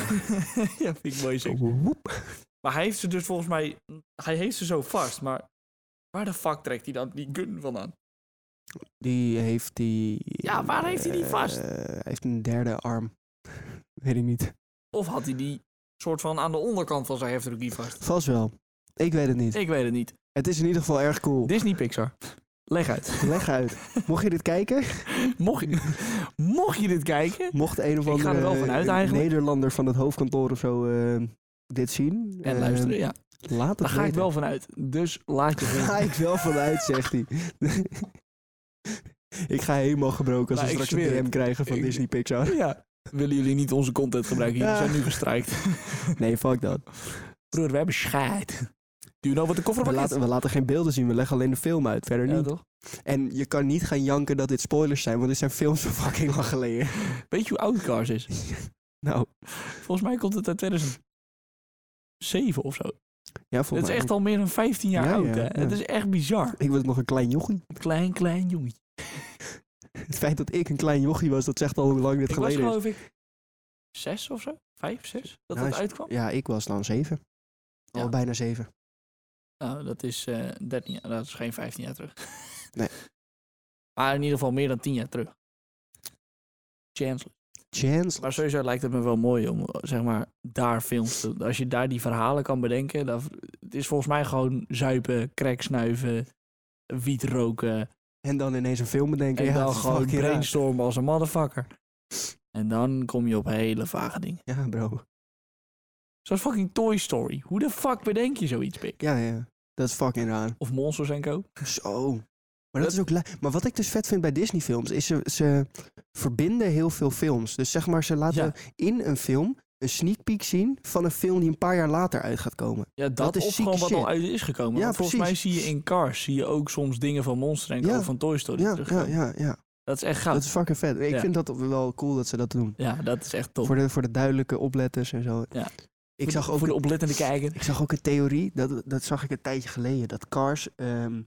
Speaker 2: Ja, vind ik mooi zeg.
Speaker 1: Woep.
Speaker 2: Maar hij heeft ze dus volgens mij, hij heeft ze zo vast, maar waar de fuck trekt hij dan die gun vandaan?
Speaker 1: Die heeft die...
Speaker 2: Ja, waar heeft hij die
Speaker 1: eh,
Speaker 2: vast?
Speaker 1: hij heeft een derde arm. Weet ik niet.
Speaker 2: Of had hij die soort van aan de onderkant van zijn heftruckie vast?
Speaker 1: Vast wel. Ik weet het niet.
Speaker 2: Ik weet het niet.
Speaker 1: Het is in ieder geval erg cool.
Speaker 2: Disney Pixar. Leg uit.
Speaker 1: Leg uit. Mocht je dit kijken?
Speaker 2: Mocht je, mocht je dit kijken?
Speaker 1: Mocht een of
Speaker 2: Ik ga er wel van uit
Speaker 1: andere eh,
Speaker 2: eigenlijk.
Speaker 1: Nederlander van het hoofdkantoor of zo eh, dit zien...
Speaker 2: En
Speaker 1: eh,
Speaker 2: luisteren, ja.
Speaker 1: Laat
Speaker 2: Daar
Speaker 1: het
Speaker 2: ga ik
Speaker 1: weten.
Speaker 2: wel vanuit. Dus laat je
Speaker 1: Ga
Speaker 2: weten.
Speaker 1: ik wel vanuit, zegt hij. ik ga helemaal gebroken als
Speaker 2: Nou,
Speaker 1: we
Speaker 2: ik
Speaker 1: straks een
Speaker 2: zweer
Speaker 1: DM krijgen van
Speaker 2: Ik-
Speaker 1: Disney Pixar.
Speaker 2: Ja. Willen jullie niet onze content gebruiken? Jullie
Speaker 1: Ja.
Speaker 2: zijn nu gestrijkt.
Speaker 1: Nee, fuck dat.
Speaker 2: Broer, we hebben scheid. Do you know wat de koffer
Speaker 1: We
Speaker 2: van
Speaker 1: laten, we laten geen beelden zien, we leggen alleen de film uit, verder
Speaker 2: Ja,
Speaker 1: niet.
Speaker 2: toch?
Speaker 1: En je kan niet gaan janken dat dit spoilers zijn, want dit zijn films van fucking lang geleden.
Speaker 2: Weet je hoe oud Cars is?
Speaker 1: nou,
Speaker 2: Volgens mij komt het uit 2007 of zo.
Speaker 1: ja, volgens
Speaker 2: Het is
Speaker 1: mij.
Speaker 2: echt al meer dan 15 jaar
Speaker 1: Ja,
Speaker 2: oud,
Speaker 1: ja,
Speaker 2: hè?
Speaker 1: ja.
Speaker 2: Het is echt bizar.
Speaker 1: Ik was nog een klein jochie.
Speaker 2: Klein, klein jongetje.
Speaker 1: Het feit dat ik een klein jochie was, dat zegt al hoe lang dit
Speaker 2: Ik was
Speaker 1: geleden is.
Speaker 2: geloof ik zes of zo, vijf, zes, dat
Speaker 1: Nou,
Speaker 2: het
Speaker 1: is-
Speaker 2: uitkwam.
Speaker 1: Ja, ik was dan zeven. Al
Speaker 2: Ja.
Speaker 1: bijna zeven.
Speaker 2: Nou, dat is eh 13 jaar, dat is geen 15 jaar terug.
Speaker 1: Nee.
Speaker 2: Maar in ieder geval meer dan 10 jaar terug. Chance.
Speaker 1: Chance.
Speaker 2: Maar sowieso lijkt het me wel mooi om, eh, zeg maar, daar films te Als je daar die verhalen kan bedenken. Dan, het is volgens mij gewoon zuipen, crack snuiven, wiet roken.
Speaker 1: En dan ineens een film bedenken.
Speaker 2: En
Speaker 1: ja,
Speaker 2: dan
Speaker 1: dat is
Speaker 2: gewoon
Speaker 1: fucking raar.
Speaker 2: brainstormen als een motherfucker. En dan kom je op hele vage dingen.
Speaker 1: Ja, bro.
Speaker 2: Zoals fucking Toy Story. Hoe de fuck bedenk je zoiets, pik?
Speaker 1: Ja, ja. Dat is fucking raar.
Speaker 2: Of Monsters en Co.
Speaker 1: Zo. Maar, dat is ook li- maar wat ik dus vet vind bij Disney-films is ze, ze verbinden heel veel films. Dus zeg maar, ze laten
Speaker 2: Ja.
Speaker 1: in een film een sneak peek zien van een film die een paar jaar later uit gaat komen.
Speaker 2: Ja, dat,
Speaker 1: Dat is
Speaker 2: of
Speaker 1: zieke
Speaker 2: gewoon wat
Speaker 1: shit.
Speaker 2: al uit is gekomen.
Speaker 1: Ja,
Speaker 2: Want volgens mij zie je in Cars zie je ook soms dingen van Monster en Co.
Speaker 1: Ja.
Speaker 2: van Toy Story
Speaker 1: Ja, ja,
Speaker 2: terugkomen.
Speaker 1: ja, ja.
Speaker 2: Dat is echt goud.
Speaker 1: Dat is fucking vet. Ik
Speaker 2: Nou. Ja.
Speaker 1: vind dat wel cool dat ze dat doen.
Speaker 2: Ja, dat is echt top.
Speaker 1: Voor de, voor de duidelijke opletters en zo.
Speaker 2: Ja.
Speaker 1: Ik zag ook
Speaker 2: voor de oplettende kijker.
Speaker 1: Ik zag ook een theorie, dat, dat zag ik een tijdje geleden, dat Cars ehm,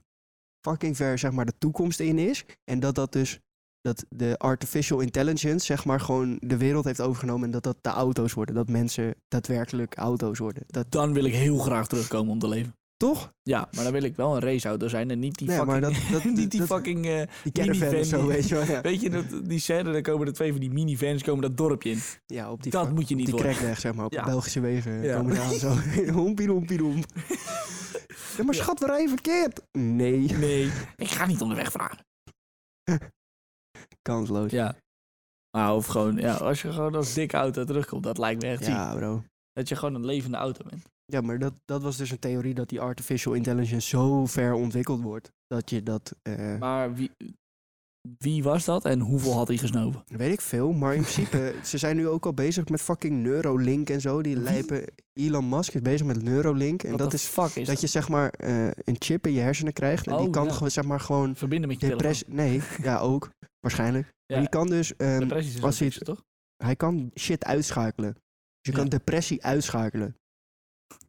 Speaker 1: fucking ver zeg maar, de toekomst in is. En dat dat dus, dat de artificial intelligence zeg maar gewoon de wereld heeft overgenomen en dat dat de auto's worden. Dat mensen daadwerkelijk auto's worden. Dat,
Speaker 2: Dan wil ik heel graag terugkomen om te leven.
Speaker 1: toch?
Speaker 2: Ja, maar dan wil ik wel een raceauto zijn en niet die
Speaker 1: Nee, maar
Speaker 2: fucking...
Speaker 1: dat, dat,
Speaker 2: niet die
Speaker 1: dat-
Speaker 2: fucking... eh,
Speaker 1: die caravan
Speaker 2: minivan
Speaker 1: of zo,
Speaker 2: die-
Speaker 1: weet je wel. Ja,
Speaker 2: weet je, dat, die scène, daar komen er twee van die minivans komen dat dorpje in.
Speaker 1: Ja, op die,
Speaker 2: dat
Speaker 1: fuck-
Speaker 2: moet je
Speaker 1: op
Speaker 2: niet
Speaker 1: die
Speaker 2: worden.
Speaker 1: crackweg, zeg maar, op
Speaker 2: Ja.
Speaker 1: de Belgische wegen
Speaker 2: Ja.
Speaker 1: komen daar zo. hompie, hompie, homp. Ja, maar
Speaker 2: Ja.
Speaker 1: schat, we rijden verkeerd. Nee,
Speaker 2: Nee, ik ga niet onderweg vragen.
Speaker 1: kansloos.
Speaker 2: Ja. Maar of gewoon, ja, als je gewoon als dikke auto terugkomt, dat lijkt me echt ziek.
Speaker 1: ja bro.
Speaker 2: Dat je gewoon een levende auto bent.
Speaker 1: Ja, maar dat, dat was dus een theorie dat die artificial intelligence zo ver ontwikkeld wordt dat je dat. eh,
Speaker 2: Maar wie, wie was dat en hoeveel had hij gesnoven?
Speaker 1: weet ik veel, maar in principe, ze zijn nu ook al bezig met fucking Neuralink en zo. Die
Speaker 2: Wie?
Speaker 1: lijpen. Elon Musk is bezig met Neuralink. En
Speaker 2: What
Speaker 1: dat
Speaker 2: the
Speaker 1: is
Speaker 2: fuck is
Speaker 1: dat je zeg maar eh, een chip in je hersenen krijgt. En die
Speaker 2: Oh,
Speaker 1: kan
Speaker 2: ja.
Speaker 1: gewoon zeg maar gewoon
Speaker 2: Verbinden met je telefoon.
Speaker 1: depressie. Nee, ja, ook. Waarschijnlijk.
Speaker 2: Ja.
Speaker 1: Maar die kan dus. ehm,
Speaker 2: Depressies is
Speaker 1: als
Speaker 2: ook
Speaker 1: hij
Speaker 2: iets, toch?
Speaker 1: hij kan shit uitschakelen. Dus je
Speaker 2: Ja.
Speaker 1: kan depressie uitschakelen.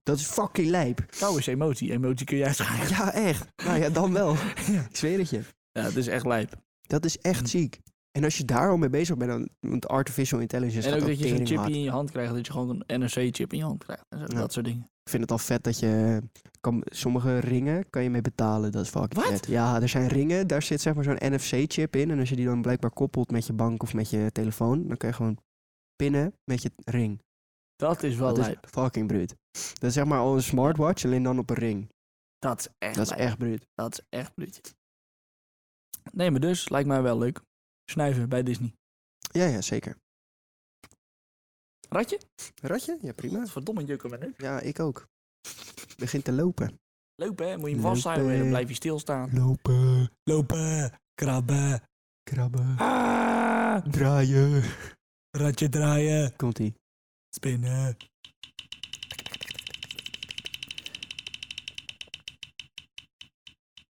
Speaker 1: Dat is fucking lijp.
Speaker 2: Kou is emotie. Emotie kun je uitschakelen.
Speaker 1: Ja, echt. Nou ja, dan wel. Ik zweer het je.
Speaker 2: Ja, het is echt lijp.
Speaker 1: Dat is echt
Speaker 2: Hm.
Speaker 1: ziek. En als je daar al mee bezig bent, dan, want artificial intelligence
Speaker 2: En
Speaker 1: gaat
Speaker 2: ook dat je zo'n chip
Speaker 1: teringhard.
Speaker 2: in je hand krijgt, dat je gewoon een NRC-chip in je hand krijgt. En zo,
Speaker 1: Ja.
Speaker 2: Dat soort dingen.
Speaker 1: Ik vind het al vet dat je kan, sommige ringen kan je mee betalen. Dat is fucking
Speaker 2: Wat?
Speaker 1: vet. Ja, er zijn ringen, daar zit zeg maar zo'n NFC-chip in. En als je die dan blijkbaar koppelt met je bank of met je telefoon, dan kan je gewoon pinnen met je ring.
Speaker 2: Dat is wel
Speaker 1: Dat is
Speaker 2: lijp.
Speaker 1: fucking bruut. Dat is zeg maar al een smartwatch, alleen dan op een ring.
Speaker 2: Dat is echt
Speaker 1: Dat is
Speaker 2: lijp.
Speaker 1: echt bruut.
Speaker 2: Dat is echt bruut. Nee, maar dus, lijkt mij wel leuk. Snuiven bij Disney.
Speaker 1: Ja, ja, zeker.
Speaker 2: Ratje?
Speaker 1: Ratje? Ja, prima.
Speaker 2: Verdomme jukken we nu.
Speaker 1: Ja, ik ook. Begint te lopen.
Speaker 2: Lopen, hè? Moet je hem
Speaker 1: Lopen.
Speaker 2: vasthouden en dan blijf je stilstaan.
Speaker 1: Lopen,
Speaker 2: Lopen, krabben,
Speaker 1: krabben,
Speaker 2: ah,
Speaker 1: draaien.
Speaker 2: ratje draaien,
Speaker 1: Komt-ie.
Speaker 2: spinnen.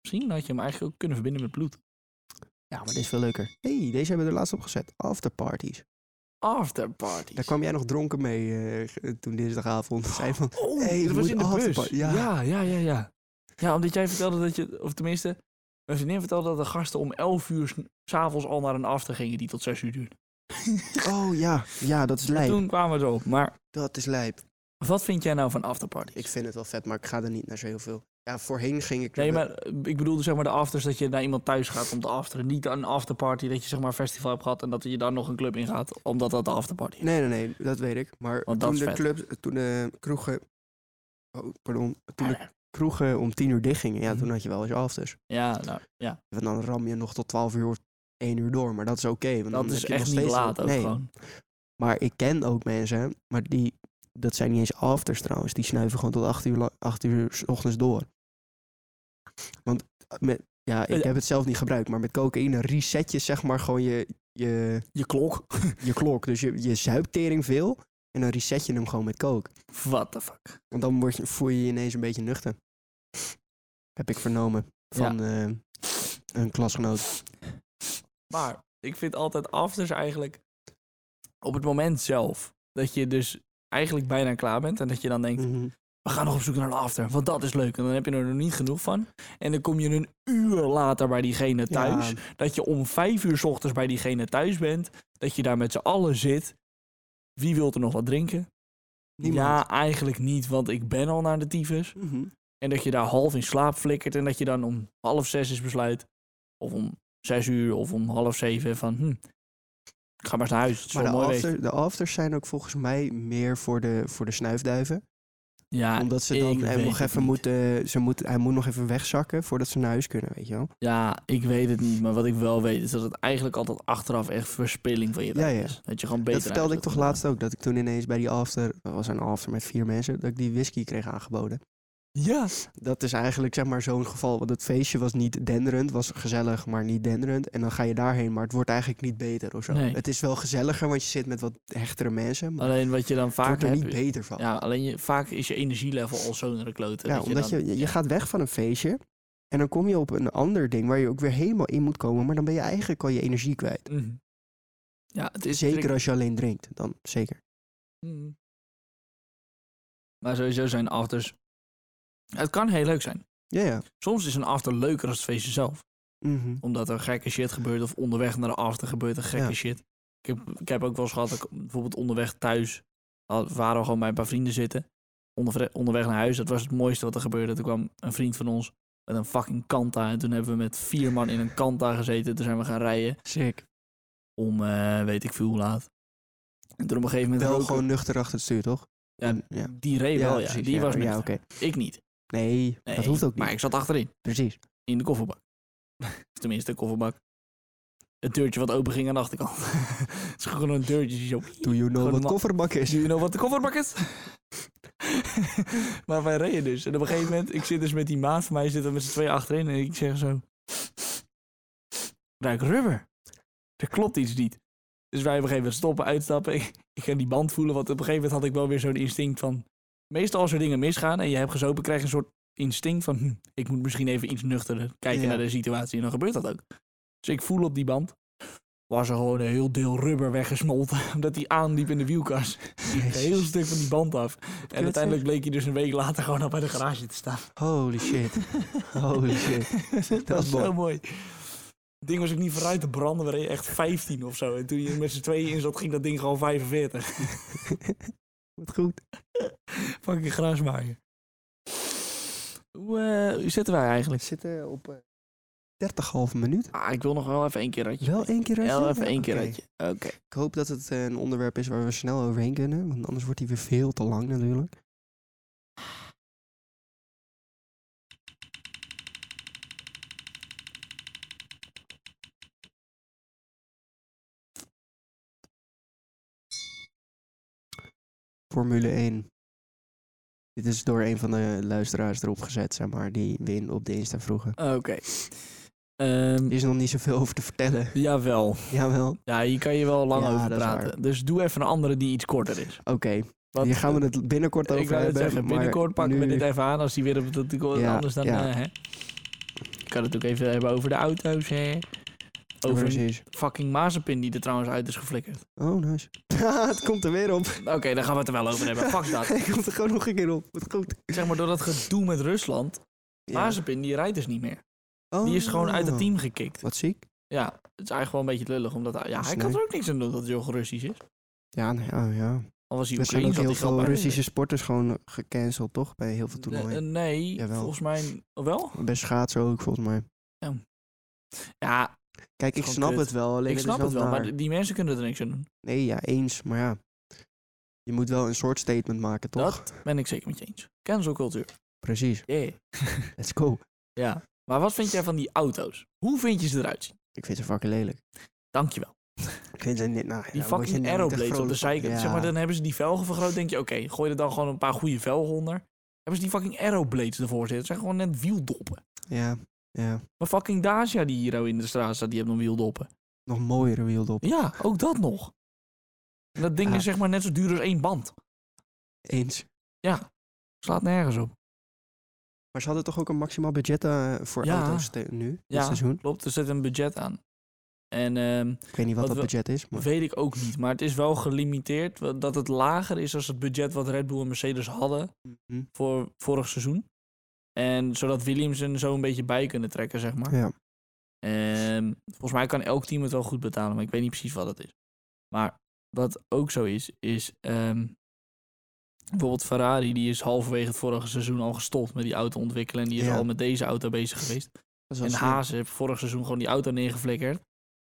Speaker 2: Misschien had je hem eigenlijk ook kunnen verbinden met bloed.
Speaker 1: Ja, maar dit is veel leuker. Hé, hey, deze hebben we er laatst op gezet. Afterparties.
Speaker 2: Afterparty.
Speaker 1: Daar kwam jij nog dronken mee eh, toen dinsdagavond. Zei van,
Speaker 2: Oh,
Speaker 1: Hey,
Speaker 2: dat
Speaker 1: we
Speaker 2: was
Speaker 1: moeten
Speaker 2: in de
Speaker 1: afterpa-
Speaker 2: bus.
Speaker 1: ja.
Speaker 2: ja, ja, ja, ja. Ja, omdat jij vertelde dat je, of tenminste, mijn vriendin vertelde dat de gasten om 11 uur s- s'avonds al naar een after gingen die tot 6 uur duurde.
Speaker 1: oh ja, ja, dat is lijp.
Speaker 2: Toen kwamen we erop. Maar
Speaker 1: Dat is lijp.
Speaker 2: wat vind jij nou van afterparties?
Speaker 1: Ik vind het wel vet, maar ik ga er niet naar zo heel veel. Ja, voorheen ging ik...
Speaker 2: Nee, maar eh, ik bedoelde zeg maar de afters dat je naar iemand thuis gaat om te afteren. Niet een afterparty dat je zeg maar een festival hebt gehad en dat je dan nog een club ingaat omdat dat de afterparty is.
Speaker 1: Nee, nee, nee, dat weet ik. Maar
Speaker 2: Want dat
Speaker 1: toen de
Speaker 2: is vet.
Speaker 1: clubs, toen de kroegen... Oh, pardon. Toen de kroegen om tien uur dicht gingen, ja,
Speaker 2: Ah, Mhm.
Speaker 1: toen had je wel eens afters.
Speaker 2: Ja, nou, ja.
Speaker 1: Want dan ram je nog tot twaalf uur of één uur door, maar dat is oké. want
Speaker 2: dat
Speaker 1: dan
Speaker 2: is
Speaker 1: heb je nog
Speaker 2: echt niet
Speaker 1: steeds-
Speaker 2: laat ook
Speaker 1: nee,
Speaker 2: gewoon.
Speaker 1: Maar ik ken ook mensen, maar die, dat zijn niet eens afters trouwens. Die snuiven gewoon tot 8 uur, la- acht uur s ochtends door. Want eh, met, ja, ik
Speaker 2: Eh, Ja.
Speaker 1: heb het zelf niet gebruikt, maar met cocaïne reset je zeg maar gewoon je, je,
Speaker 2: Je klok.
Speaker 1: je klok. Dus je, je zuipt tering veel en dan reset je hem gewoon met coke.
Speaker 2: What the fuck.
Speaker 1: Want dan word je, voel je je ineens een beetje nuchter. Heb ik vernomen van eh, een klasgenoot.
Speaker 2: Maar ik vind altijd afters eigenlijk op het moment zelf dat je dus eigenlijk bijna klaar bent en dat je dan denkt,
Speaker 1: Mhm.
Speaker 2: we gaan nog op zoek naar de after, want dat is leuk. En dan heb je er nog niet genoeg van. En dan kom je een uur later bij diegene thuis.
Speaker 1: Ja,
Speaker 2: Dat je om vijf uur 's ochtends bij diegene thuis bent. Dat je daar met z'n allen zit. Wie wil er nog wat drinken?
Speaker 1: niemand.
Speaker 2: Ja, eigenlijk niet, want ik ben al naar de tyfus.
Speaker 1: Mhm.
Speaker 2: En dat je daar half in slaap flikkert. En dat je dan om half zes is besluit. Of om zes uur of om half zeven van... Hm, ik ga maar eens naar huis. Het is
Speaker 1: Maar de,
Speaker 2: wel mooi weer.
Speaker 1: after, de afters zijn ook volgens mij meer voor de, voor de snuifduiven.
Speaker 2: Ja,
Speaker 1: omdat ze
Speaker 2: ik
Speaker 1: dan, hij,
Speaker 2: weet
Speaker 1: nog
Speaker 2: het
Speaker 1: even
Speaker 2: niet.
Speaker 1: moeten, ze moet, hij moet nog even wegzakken voordat ze naar huis kunnen, weet je wel.
Speaker 2: Ja, ik weet het niet. Maar wat ik wel weet is dat het eigenlijk altijd achteraf echt verspilling van je
Speaker 1: Ja,
Speaker 2: tijd
Speaker 1: ja.
Speaker 2: is. Dat je gewoon beter
Speaker 1: dat vertelde ik
Speaker 2: eigenlijk
Speaker 1: toch
Speaker 2: had
Speaker 1: laatst ook, dat ik toen ineens bij die after, dat was een after met vier mensen, dat ik die whisky kreeg aangeboden.
Speaker 2: gedaan. Ja,
Speaker 1: Dat is eigenlijk zeg maar zo'n geval, want het feestje was niet denderend, was gezellig, maar niet denderend. En dan ga je daarheen, maar het wordt eigenlijk niet beter of zo.
Speaker 2: Nee.
Speaker 1: Het is wel gezelliger, want je zit met wat hechtere mensen, maar
Speaker 2: alleen wat je dan
Speaker 1: het
Speaker 2: vaak
Speaker 1: wordt er
Speaker 2: hebt...
Speaker 1: niet beter van.
Speaker 2: Ja, alleen je, vaak is je energielevel al zo naar de klote.
Speaker 1: Ja,
Speaker 2: dat
Speaker 1: omdat
Speaker 2: dan-
Speaker 1: je, je, je gaat weg van een feestje en dan kom je op een ander ding waar je ook weer helemaal in moet komen, maar dan ben je eigenlijk al je energie kwijt.
Speaker 2: Mhm. Ja, het is
Speaker 1: Zeker
Speaker 2: tricky.
Speaker 1: als je alleen drinkt, dan zeker.
Speaker 2: Mhm. Maar sowieso zijn afters... Het kan heel leuk zijn.
Speaker 1: Ja, ja.
Speaker 2: Soms is een after leuker dan het feestje zelf.
Speaker 1: Mhm.
Speaker 2: Omdat er gekke shit gebeurt of onderweg naar de after gebeurt er gekke
Speaker 1: Ja.
Speaker 2: shit. Ik heb, ik heb ook wel eens gehad, dat ik bijvoorbeeld onderweg thuis had, waren we gewoon bij een paar vrienden zitten. Onderve- onderweg naar huis, dat was het mooiste wat er gebeurde. Toen kwam een vriend van ons met een fucking kanta. En toen hebben we met vier man in een kanta gezeten. Toen zijn we gaan rijden
Speaker 1: Sick.
Speaker 2: om eh, weet ik veel hoe laat. En toen op een gegeven moment...
Speaker 1: Wel
Speaker 2: roken-
Speaker 1: gewoon nuchter achter het stuur, toch?
Speaker 2: Ja,
Speaker 1: En- ja.
Speaker 2: Die reed wel, ja.
Speaker 1: precies,
Speaker 2: die was
Speaker 1: Ja,
Speaker 2: nuchter.
Speaker 1: oké.
Speaker 2: Ik niet.
Speaker 1: Nee,
Speaker 2: Nee,
Speaker 1: dat hoeft ook niet.
Speaker 2: Maar ik zat achterin.
Speaker 1: Precies.
Speaker 2: In de kofferbak. Tenminste, de kofferbak. Het deurtje wat open ging aan de achterkant. Het is gewoon een deurtje die zo...
Speaker 1: Do you know
Speaker 2: Gewoon
Speaker 1: wat
Speaker 2: ma-
Speaker 1: kofferbak is?
Speaker 2: Do you know nou wat de kofferbak is? maar wij reden dus. En op een gegeven moment, ik zit dus met die maat van mij, zitten we met z'n tweeën achterin. En ik zeg zo... Ruik rubber. Er klopt iets niet. Dus wij op een gegeven moment stoppen, uitstappen. Ik, ik ga die band voelen, want op een gegeven moment had ik wel weer zo'n instinct van... Meestal als er dingen misgaan en je hebt gezopen, krijg je een soort instinct van... hm, ik moet misschien even iets nuchterder kijken
Speaker 1: Ja.
Speaker 2: naar de situatie. En dan gebeurt dat ook. Dus ik voel op die band. Was er gewoon een heel deel rubber weggesmolten. Omdat die aanliep in de wielkast. Een heel
Speaker 1: Jezus.
Speaker 2: stuk van die band af. En uiteindelijk bleek hij dus een week later gewoon al bij de garage te staan.
Speaker 1: Holy shit. Holy shit. Dat
Speaker 2: dat was
Speaker 1: is mooi.
Speaker 2: zo mooi. Het ding was ook niet vooruit te branden. We reden echt 15 of zo. En toen je er met z'n tweeën in zat, ging dat ding gewoon 45.
Speaker 1: Wat goed.
Speaker 2: Fucking grasmaaier. Hoe eh, hoe zitten wij
Speaker 1: We
Speaker 2: eigenlijk?
Speaker 1: zitten op eh, 30 halve minuut.
Speaker 2: Ah, ik wil nog wel even één keer ratje.
Speaker 1: Wel één keer
Speaker 2: Wel
Speaker 1: uitje?
Speaker 2: even
Speaker 1: Ja,
Speaker 2: één keer
Speaker 1: oké.
Speaker 2: ratje. Oké.
Speaker 1: Ik hoop dat het eh, een onderwerp is waar we snel overheen kunnen. Want anders wordt hij weer veel te lang natuurlijk. Formule 1. Dit is door een van de luisteraars erop gezet, zeg maar, die we in- op de Insta vroegen.
Speaker 2: Oké. Ehm,
Speaker 1: Er is nog niet zoveel over te vertellen.
Speaker 2: jawel.
Speaker 1: Jawel.
Speaker 2: Ja, hier kan je wel lang
Speaker 1: Ja,
Speaker 2: over
Speaker 1: dat is
Speaker 2: praten. Dus doe even een andere die iets korter is.
Speaker 1: Oké,
Speaker 2: Want,
Speaker 1: hier gaan we het binnenkort
Speaker 2: eh,
Speaker 1: over
Speaker 2: ik wou het
Speaker 1: hebben.
Speaker 2: zeggen,
Speaker 1: maar
Speaker 2: binnenkort pakken we
Speaker 1: nu-
Speaker 2: dit even aan. Als die weer op dat
Speaker 1: Ja,
Speaker 2: anders dan...
Speaker 1: ja.
Speaker 2: eh, hè. Ik kan het ook even hebben over de auto's, hè. Over een
Speaker 1: Precies.
Speaker 2: fucking mazepin die er trouwens uit is geflikkerd.
Speaker 1: Oh, nice. het komt er weer op.
Speaker 2: Oké, daar gaan we het er wel over hebben. Fuck dat.
Speaker 1: Hij komt er gewoon nog een keer op. Wat goed.
Speaker 2: Zeg maar, door dat gedoe met Rusland...
Speaker 1: Ja.
Speaker 2: Mazepin, die rijdt dus niet meer.
Speaker 1: Oh.
Speaker 2: Die is gewoon uit het team gekikt.
Speaker 1: Wat ziek.
Speaker 2: Ja, het is eigenlijk wel een beetje lullig. Omdat, hij- ja,
Speaker 1: Dat is
Speaker 2: hij kan
Speaker 1: leuk.
Speaker 2: er ook niks aan doen dat hij Russisch is.
Speaker 1: Ja, nee, oh, ja.
Speaker 2: Al was hij
Speaker 1: Er zijn ook
Speaker 2: Oekraïens, had
Speaker 1: heel
Speaker 2: hij geld
Speaker 1: veel
Speaker 2: bij-
Speaker 1: Russische sporters gewoon gecanceld, toch? Bij heel veel
Speaker 2: Eh, eh,
Speaker 1: toernooien.
Speaker 2: Nee, eh,
Speaker 1: Jawel.
Speaker 2: volgens mij wel.
Speaker 1: Bij schaatsen ook, volgens mij.
Speaker 2: Ja,
Speaker 1: Kijk, ik
Speaker 2: Gewoon
Speaker 1: snap
Speaker 2: kut.
Speaker 1: het dus wel, alleen
Speaker 2: ik snap
Speaker 1: is
Speaker 2: het wel, maar
Speaker 1: naar.
Speaker 2: die- die mensen kunnen er niks aan doen.
Speaker 1: Nee, ja, eens, maar ja. Je moet wel een soort statement maken, toch?
Speaker 2: Dat ben ik zeker met je eens. Cancel cultuur.
Speaker 1: Precies.
Speaker 2: Yeah.
Speaker 1: Let's go.
Speaker 2: Ja. Maar wat vind jij van die auto's? Hoe vind je ze eruit zien?
Speaker 1: Ik vind ze fucking lelijk.
Speaker 2: Dankjewel.
Speaker 1: Ik vind ze niet... Nou, ja,
Speaker 2: Die
Speaker 1: daar word je
Speaker 2: fucking
Speaker 1: niet echt
Speaker 2: aeroblades op de
Speaker 1: vrolijk van.
Speaker 2: zijkant.
Speaker 1: Ja.
Speaker 2: Zeg maar, dan hebben ze die velgen vergroot. denk je, oké, gooi er dan gewoon een paar goede velgen onder. Hebben ze die fucking aeroblades ervoor zitten. Het zijn gewoon net wieldoppen.
Speaker 1: Ja, ja.
Speaker 2: Maar fucking Dacia die hier ook in de straat staat, die hebben nog wieldoppen.
Speaker 1: Nog mooiere wieldoppen.
Speaker 2: Ja, ook dat nog. En dat ding
Speaker 1: Ja.
Speaker 2: is zeg maar net zo duur als één band.
Speaker 1: Eens.
Speaker 2: Ja, slaat nergens op.
Speaker 1: Maar ze hadden toch ook een maximaal budget eh, voor
Speaker 2: Ja.
Speaker 1: auto's te- nu, dit
Speaker 2: Ja.
Speaker 1: seizoen?
Speaker 2: Klopt, er zit een budget aan. En ehm,
Speaker 1: Ik weet niet wat,
Speaker 2: Wat
Speaker 1: dat budget is. Maar...
Speaker 2: Weet ik ook niet. Maar het is wel gelimiteerd. wa- Dat het lager is als het budget wat Red Bull en Mercedes hadden
Speaker 1: Mhm.
Speaker 2: voor vorig seizoen. En zodat Williams er zo een beetje bij kunnen trekken, zeg maar.
Speaker 1: Ja.
Speaker 2: Ehm, volgens mij kan elk team het wel goed betalen, maar ik weet niet precies wat het is. Maar wat ook zo is, is ehm, bijvoorbeeld Ferrari, die is halverwege het vorige seizoen al gestopt met die auto ontwikkelen. En die is
Speaker 1: Ja.
Speaker 2: al met deze auto bezig geweest.
Speaker 1: Dat is wel
Speaker 2: En
Speaker 1: slim.
Speaker 2: Haas heeft vorig seizoen gewoon die auto neergeflikkerd.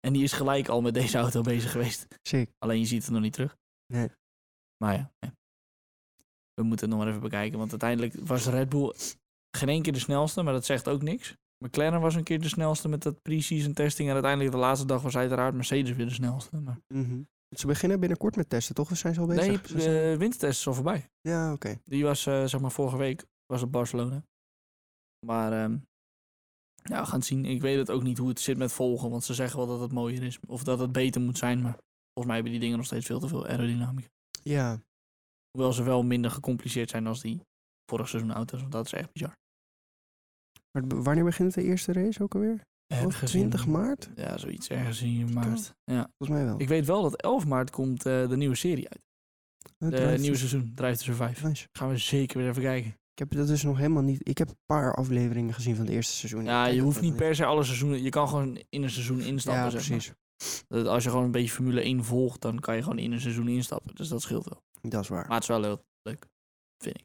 Speaker 2: En die is gelijk al met deze auto bezig geweest.
Speaker 1: Sick.
Speaker 2: Alleen je ziet het nog niet terug.
Speaker 1: Nee.
Speaker 2: Maar ja, ja. we moeten het nog maar even bekijken. Want uiteindelijk was Red Bull geen één keer de snelste, maar dat zegt ook niks. McLaren was een keer de snelste met dat pre-season testing. En uiteindelijk de laatste dag was uiteraard Mercedes weer de snelste. Maar
Speaker 1: Mhm. Ze beginnen binnenkort met testen, toch? Of zijn ze al bezig?
Speaker 2: nee,
Speaker 1: Ze zijn-
Speaker 2: de wintertest is al voorbij.
Speaker 1: Ja, oké.
Speaker 2: Die was, eh, zeg maar, vorige week was het Barcelona. Maar ehm, ja, we gaan het zien. Ik weet het ook niet hoe het zit met volgen. Want ze zeggen wel dat het mooier is. Of dat het beter moet zijn. Maar volgens mij hebben die dingen nog steeds veel te veel aerodynamica.
Speaker 1: Ja.
Speaker 2: Hoewel ze wel minder gecompliceerd zijn als die vorig seizoen auto's. Want dat is echt bizar.
Speaker 1: Maar b- wanneer begint de eerste race ook alweer? Oh, 20
Speaker 2: in-
Speaker 1: maart?
Speaker 2: Ja, zoiets. Ergens in maart. Ja.
Speaker 1: Volgens mij wel.
Speaker 2: Ik weet wel dat 11 maart komt eh, de nieuwe serie uit.
Speaker 1: Oh,
Speaker 2: De
Speaker 1: drive to-
Speaker 2: nieuwe seizoen, Drive to Survive.
Speaker 1: Nice.
Speaker 2: Gaan we zeker weer even kijken.
Speaker 1: Ik heb dat dus nog helemaal niet... Ik heb een paar afleveringen gezien van het eerste seizoen.
Speaker 2: Ja,
Speaker 1: Ik kijk
Speaker 2: je
Speaker 1: dat
Speaker 2: hoeft
Speaker 1: nog
Speaker 2: niet per se alle seizoenen... Je kan gewoon in een seizoen instappen.
Speaker 1: Ja,
Speaker 2: zeg maar.
Speaker 1: precies.
Speaker 2: Dat als je gewoon een beetje Formule 1 volgt, dan kan je gewoon in een seizoen instappen. Dus dat scheelt wel.
Speaker 1: Dat is waar.
Speaker 2: Maar het is wel heel leuk, vind ik.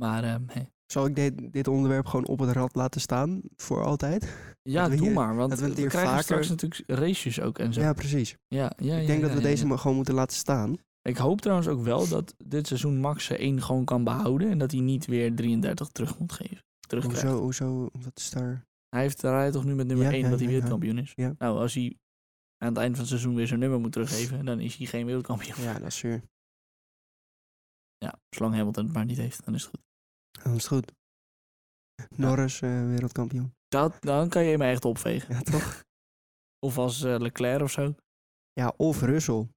Speaker 2: Maar ehm, hè.
Speaker 1: Zal ik dit, dit onderwerp gewoon op het rad laten staan voor altijd?
Speaker 2: ja,
Speaker 1: Dat we
Speaker 2: doe
Speaker 1: hier-
Speaker 2: maar. Want
Speaker 1: dat we
Speaker 2: we,
Speaker 1: het hier
Speaker 2: krijgen
Speaker 1: vaker-
Speaker 2: straks natuurlijk races ook en zo. Ja,
Speaker 1: Ja, precies.
Speaker 2: ja, ja,
Speaker 1: ik denk
Speaker 2: ja,
Speaker 1: dat we
Speaker 2: ja,
Speaker 1: deze
Speaker 2: ja.
Speaker 1: maar gewoon moeten laten staan.
Speaker 2: Ik hoop trouwens ook wel dat dit seizoen Max zijn 1 gewoon kan behouden. En dat hij niet weer 33 terug moet geven. Terugkrijgt.
Speaker 1: Hoezo, hoezo, wat is daar...
Speaker 2: Hij heeft hij rijdt toch nu met nummer
Speaker 1: Ja,
Speaker 2: 1
Speaker 1: ja,
Speaker 2: dat hij
Speaker 1: ja, ja.
Speaker 2: wereldkampioen is.
Speaker 1: Ja.
Speaker 2: Nou, als hij aan het eind van het seizoen weer zijn nummer moet teruggeven, dan is hij geen wereldkampioen.
Speaker 1: Ja, dat is zuur.
Speaker 2: Ja, zolang Hamilton het maar niet heeft, dan is het goed.
Speaker 1: Oh, Dat is goed. Norris, eh, wereldkampioen.
Speaker 2: Dat, dan kan je hem echt opvegen.
Speaker 1: Ja, toch?
Speaker 2: Of als eh, Leclerc of zo.
Speaker 1: Ja, of Russell.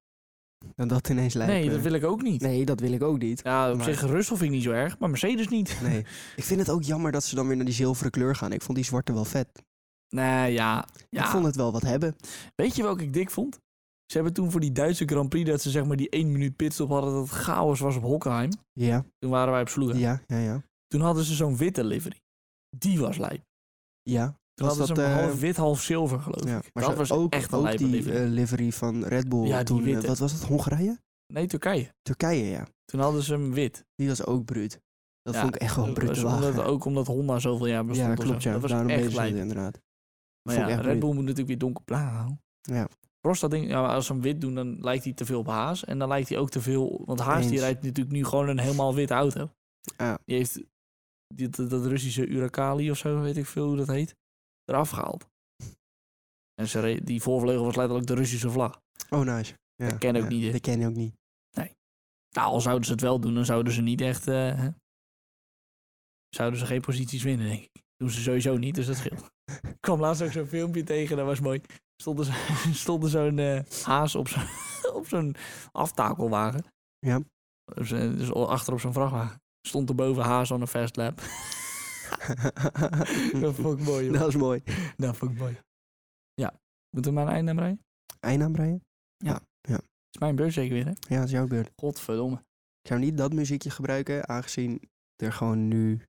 Speaker 1: Dan dat ineens lijkt
Speaker 2: Nee,
Speaker 1: me.
Speaker 2: dat wil ik ook niet.
Speaker 1: Nee, dat wil ik ook niet.
Speaker 2: Ja, op
Speaker 1: Maar-
Speaker 2: zich, Russell vind ik niet zo erg, maar Mercedes niet.
Speaker 1: Nee. ik vind het ook jammer dat ze dan weer naar die zilveren kleur gaan. Ik vond die zwarte wel vet.
Speaker 2: Nee, ja. ja.
Speaker 1: Ik vond het wel wat hebben.
Speaker 2: Weet je welke ik dik vond? Ze hebben toen voor die Duitse Grand Prix dat ze zeg maar die 1 minuut pitstop hadden dat het chaos was op Hockenheim.
Speaker 1: Ja,
Speaker 2: Toen waren wij op Sloegen.
Speaker 1: ja, ja, ja.
Speaker 2: Toen hadden ze zo'n witte livery. Die was lijp.
Speaker 1: Ja,
Speaker 2: Toen
Speaker 1: Was
Speaker 2: hadden ze
Speaker 1: dat,
Speaker 2: hem
Speaker 1: eh,
Speaker 2: half wit, half zilver geloof
Speaker 1: ja.
Speaker 2: ik.
Speaker 1: maar
Speaker 2: dat
Speaker 1: ze-
Speaker 2: was
Speaker 1: ook,
Speaker 2: echt een
Speaker 1: ook
Speaker 2: lijpe
Speaker 1: die
Speaker 2: livery.
Speaker 1: eh, livery van Red Bull.
Speaker 2: Ja, die
Speaker 1: toen, eh,
Speaker 2: witte.
Speaker 1: wat was dat, Hongarije?
Speaker 2: nee, Turkije.
Speaker 1: Turkije, ja.
Speaker 2: Toen hadden ze hem wit.
Speaker 1: Die was ook bruut. Dat
Speaker 2: Ja,
Speaker 1: vond ik echt wel een
Speaker 2: Dat
Speaker 1: brute
Speaker 2: was
Speaker 1: wagen.
Speaker 2: omdat, ook omdat Honda zoveel jaar bestond.
Speaker 1: ja,
Speaker 2: of zo.
Speaker 1: klopt, ja.
Speaker 2: Dat was
Speaker 1: Daarom deden
Speaker 2: echt
Speaker 1: ze het
Speaker 2: lijp.
Speaker 1: inderdaad.
Speaker 2: Maar
Speaker 1: Vond
Speaker 2: ja,
Speaker 1: ik echt
Speaker 2: Red
Speaker 1: bruut.
Speaker 2: Bull moet natuurlijk weer donkerblauw.
Speaker 1: Ja.
Speaker 2: Prost dat ding, ja, maar als ze hem wit doen, dan lijkt hij te veel op Haas. En dan lijkt hij ook te veel... Want Haas die
Speaker 1: Eens.
Speaker 2: rijdt natuurlijk nu gewoon een helemaal witte auto.
Speaker 1: Ja.
Speaker 2: Die heeft die, dat, dat Russische Urakali of zo, weet ik veel hoe dat heet, eraf gehaald. En ze reed- die voorvleugel was letterlijk de Russische vlag.
Speaker 1: Oh, nice. Ja,
Speaker 2: Dat ken ik
Speaker 1: ja.
Speaker 2: niet, hè.
Speaker 1: Dat ken ik ook niet.
Speaker 2: Nou, al zouden ze het wel doen, dan zouden ze niet echt... eh, hè? zouden ze geen posities winnen, denk ik. Doen ze sowieso niet, dus dat scheelt. ik kwam laatst ook zo'n filmpje tegen, dat was mooi. Stonden ze- Stond er zo'n eh, haas op zo'n op zo'n aftakelwagen.
Speaker 1: Ja.
Speaker 2: Op zijn- Dus achter op zo'n vrachtwagen. Stond er boven haas aan een fast lap. dat vond ik mooi, joh.
Speaker 1: dat is mooi.
Speaker 2: Dat vond ik mooi. Ja. Moeten we maar een eind aan breien?
Speaker 1: Eindnaam rijden?
Speaker 2: Het is mijn beurt zeker weer, hè?
Speaker 1: Ja, dat is jouw beurt.
Speaker 2: Godverdomme.
Speaker 1: Ik zou niet dat muziekje gebruiken, aangezien er gewoon nu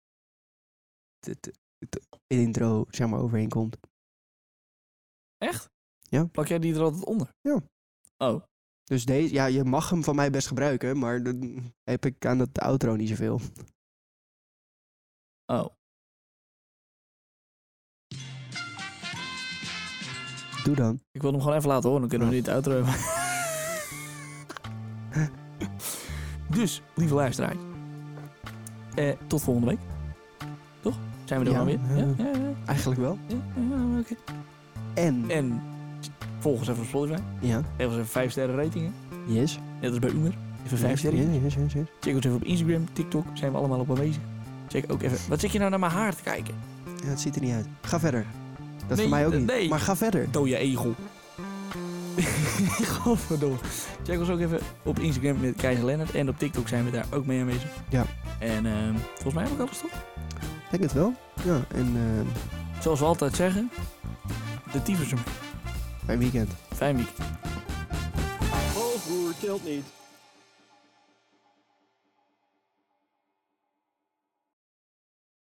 Speaker 1: de, de- de intro zeg maar overheen komt.
Speaker 2: Echt?
Speaker 1: Ja.
Speaker 2: Plak jij die er altijd onder?
Speaker 1: Ja.
Speaker 2: Oh.
Speaker 1: Dus deze, ja, je mag hem van mij best gebruiken, maar dan heb ik aan dat outro niet zoveel.
Speaker 2: Oh.
Speaker 1: Doe dan.
Speaker 2: Ik wil hem gewoon even laten horen, dan kunnen we niet outro hebben. dus, lieve luisteraars. Eh, tot volgende week. Toch? Zijn we er
Speaker 1: Ja,
Speaker 2: dan weer?
Speaker 1: ja.
Speaker 2: ja, ja, ja,
Speaker 1: Eigenlijk wel.
Speaker 2: ja, oké.
Speaker 1: En,
Speaker 2: En volg ons even op Spotify.
Speaker 1: ja,
Speaker 2: Geef ons even 5 sterren ratingen.
Speaker 1: yes.
Speaker 2: Net als bij Umer. Even 5
Speaker 1: Yes,
Speaker 2: sterren.
Speaker 1: yes, yes, yes, yes.
Speaker 2: Check ons even op Instagram, TikTok. Zijn we allemaal op aanwezig. Check ook even... Wat zit je nou naar mijn haar te kijken?
Speaker 1: Ja, het ziet er niet uit. Ga verder. Dat is
Speaker 2: Nee,
Speaker 1: voor mij ook
Speaker 2: eh,
Speaker 1: niet.
Speaker 2: nee.
Speaker 1: Maar ga verder.
Speaker 2: Dode egel. Godverdomme. Check ons ook even op Instagram met Keizer Lennart. En op TikTok zijn we daar ook mee aanwezig.
Speaker 1: Ja.
Speaker 2: En ehm, volgens mij heb ik alles toch?
Speaker 1: Ik denk het wel. Ja, en ehm,
Speaker 2: Zoals we altijd zeggen. de tyfus.
Speaker 1: Fijn weekend.
Speaker 2: Fijn weekend.
Speaker 3: Halfbroer eh, telt niet.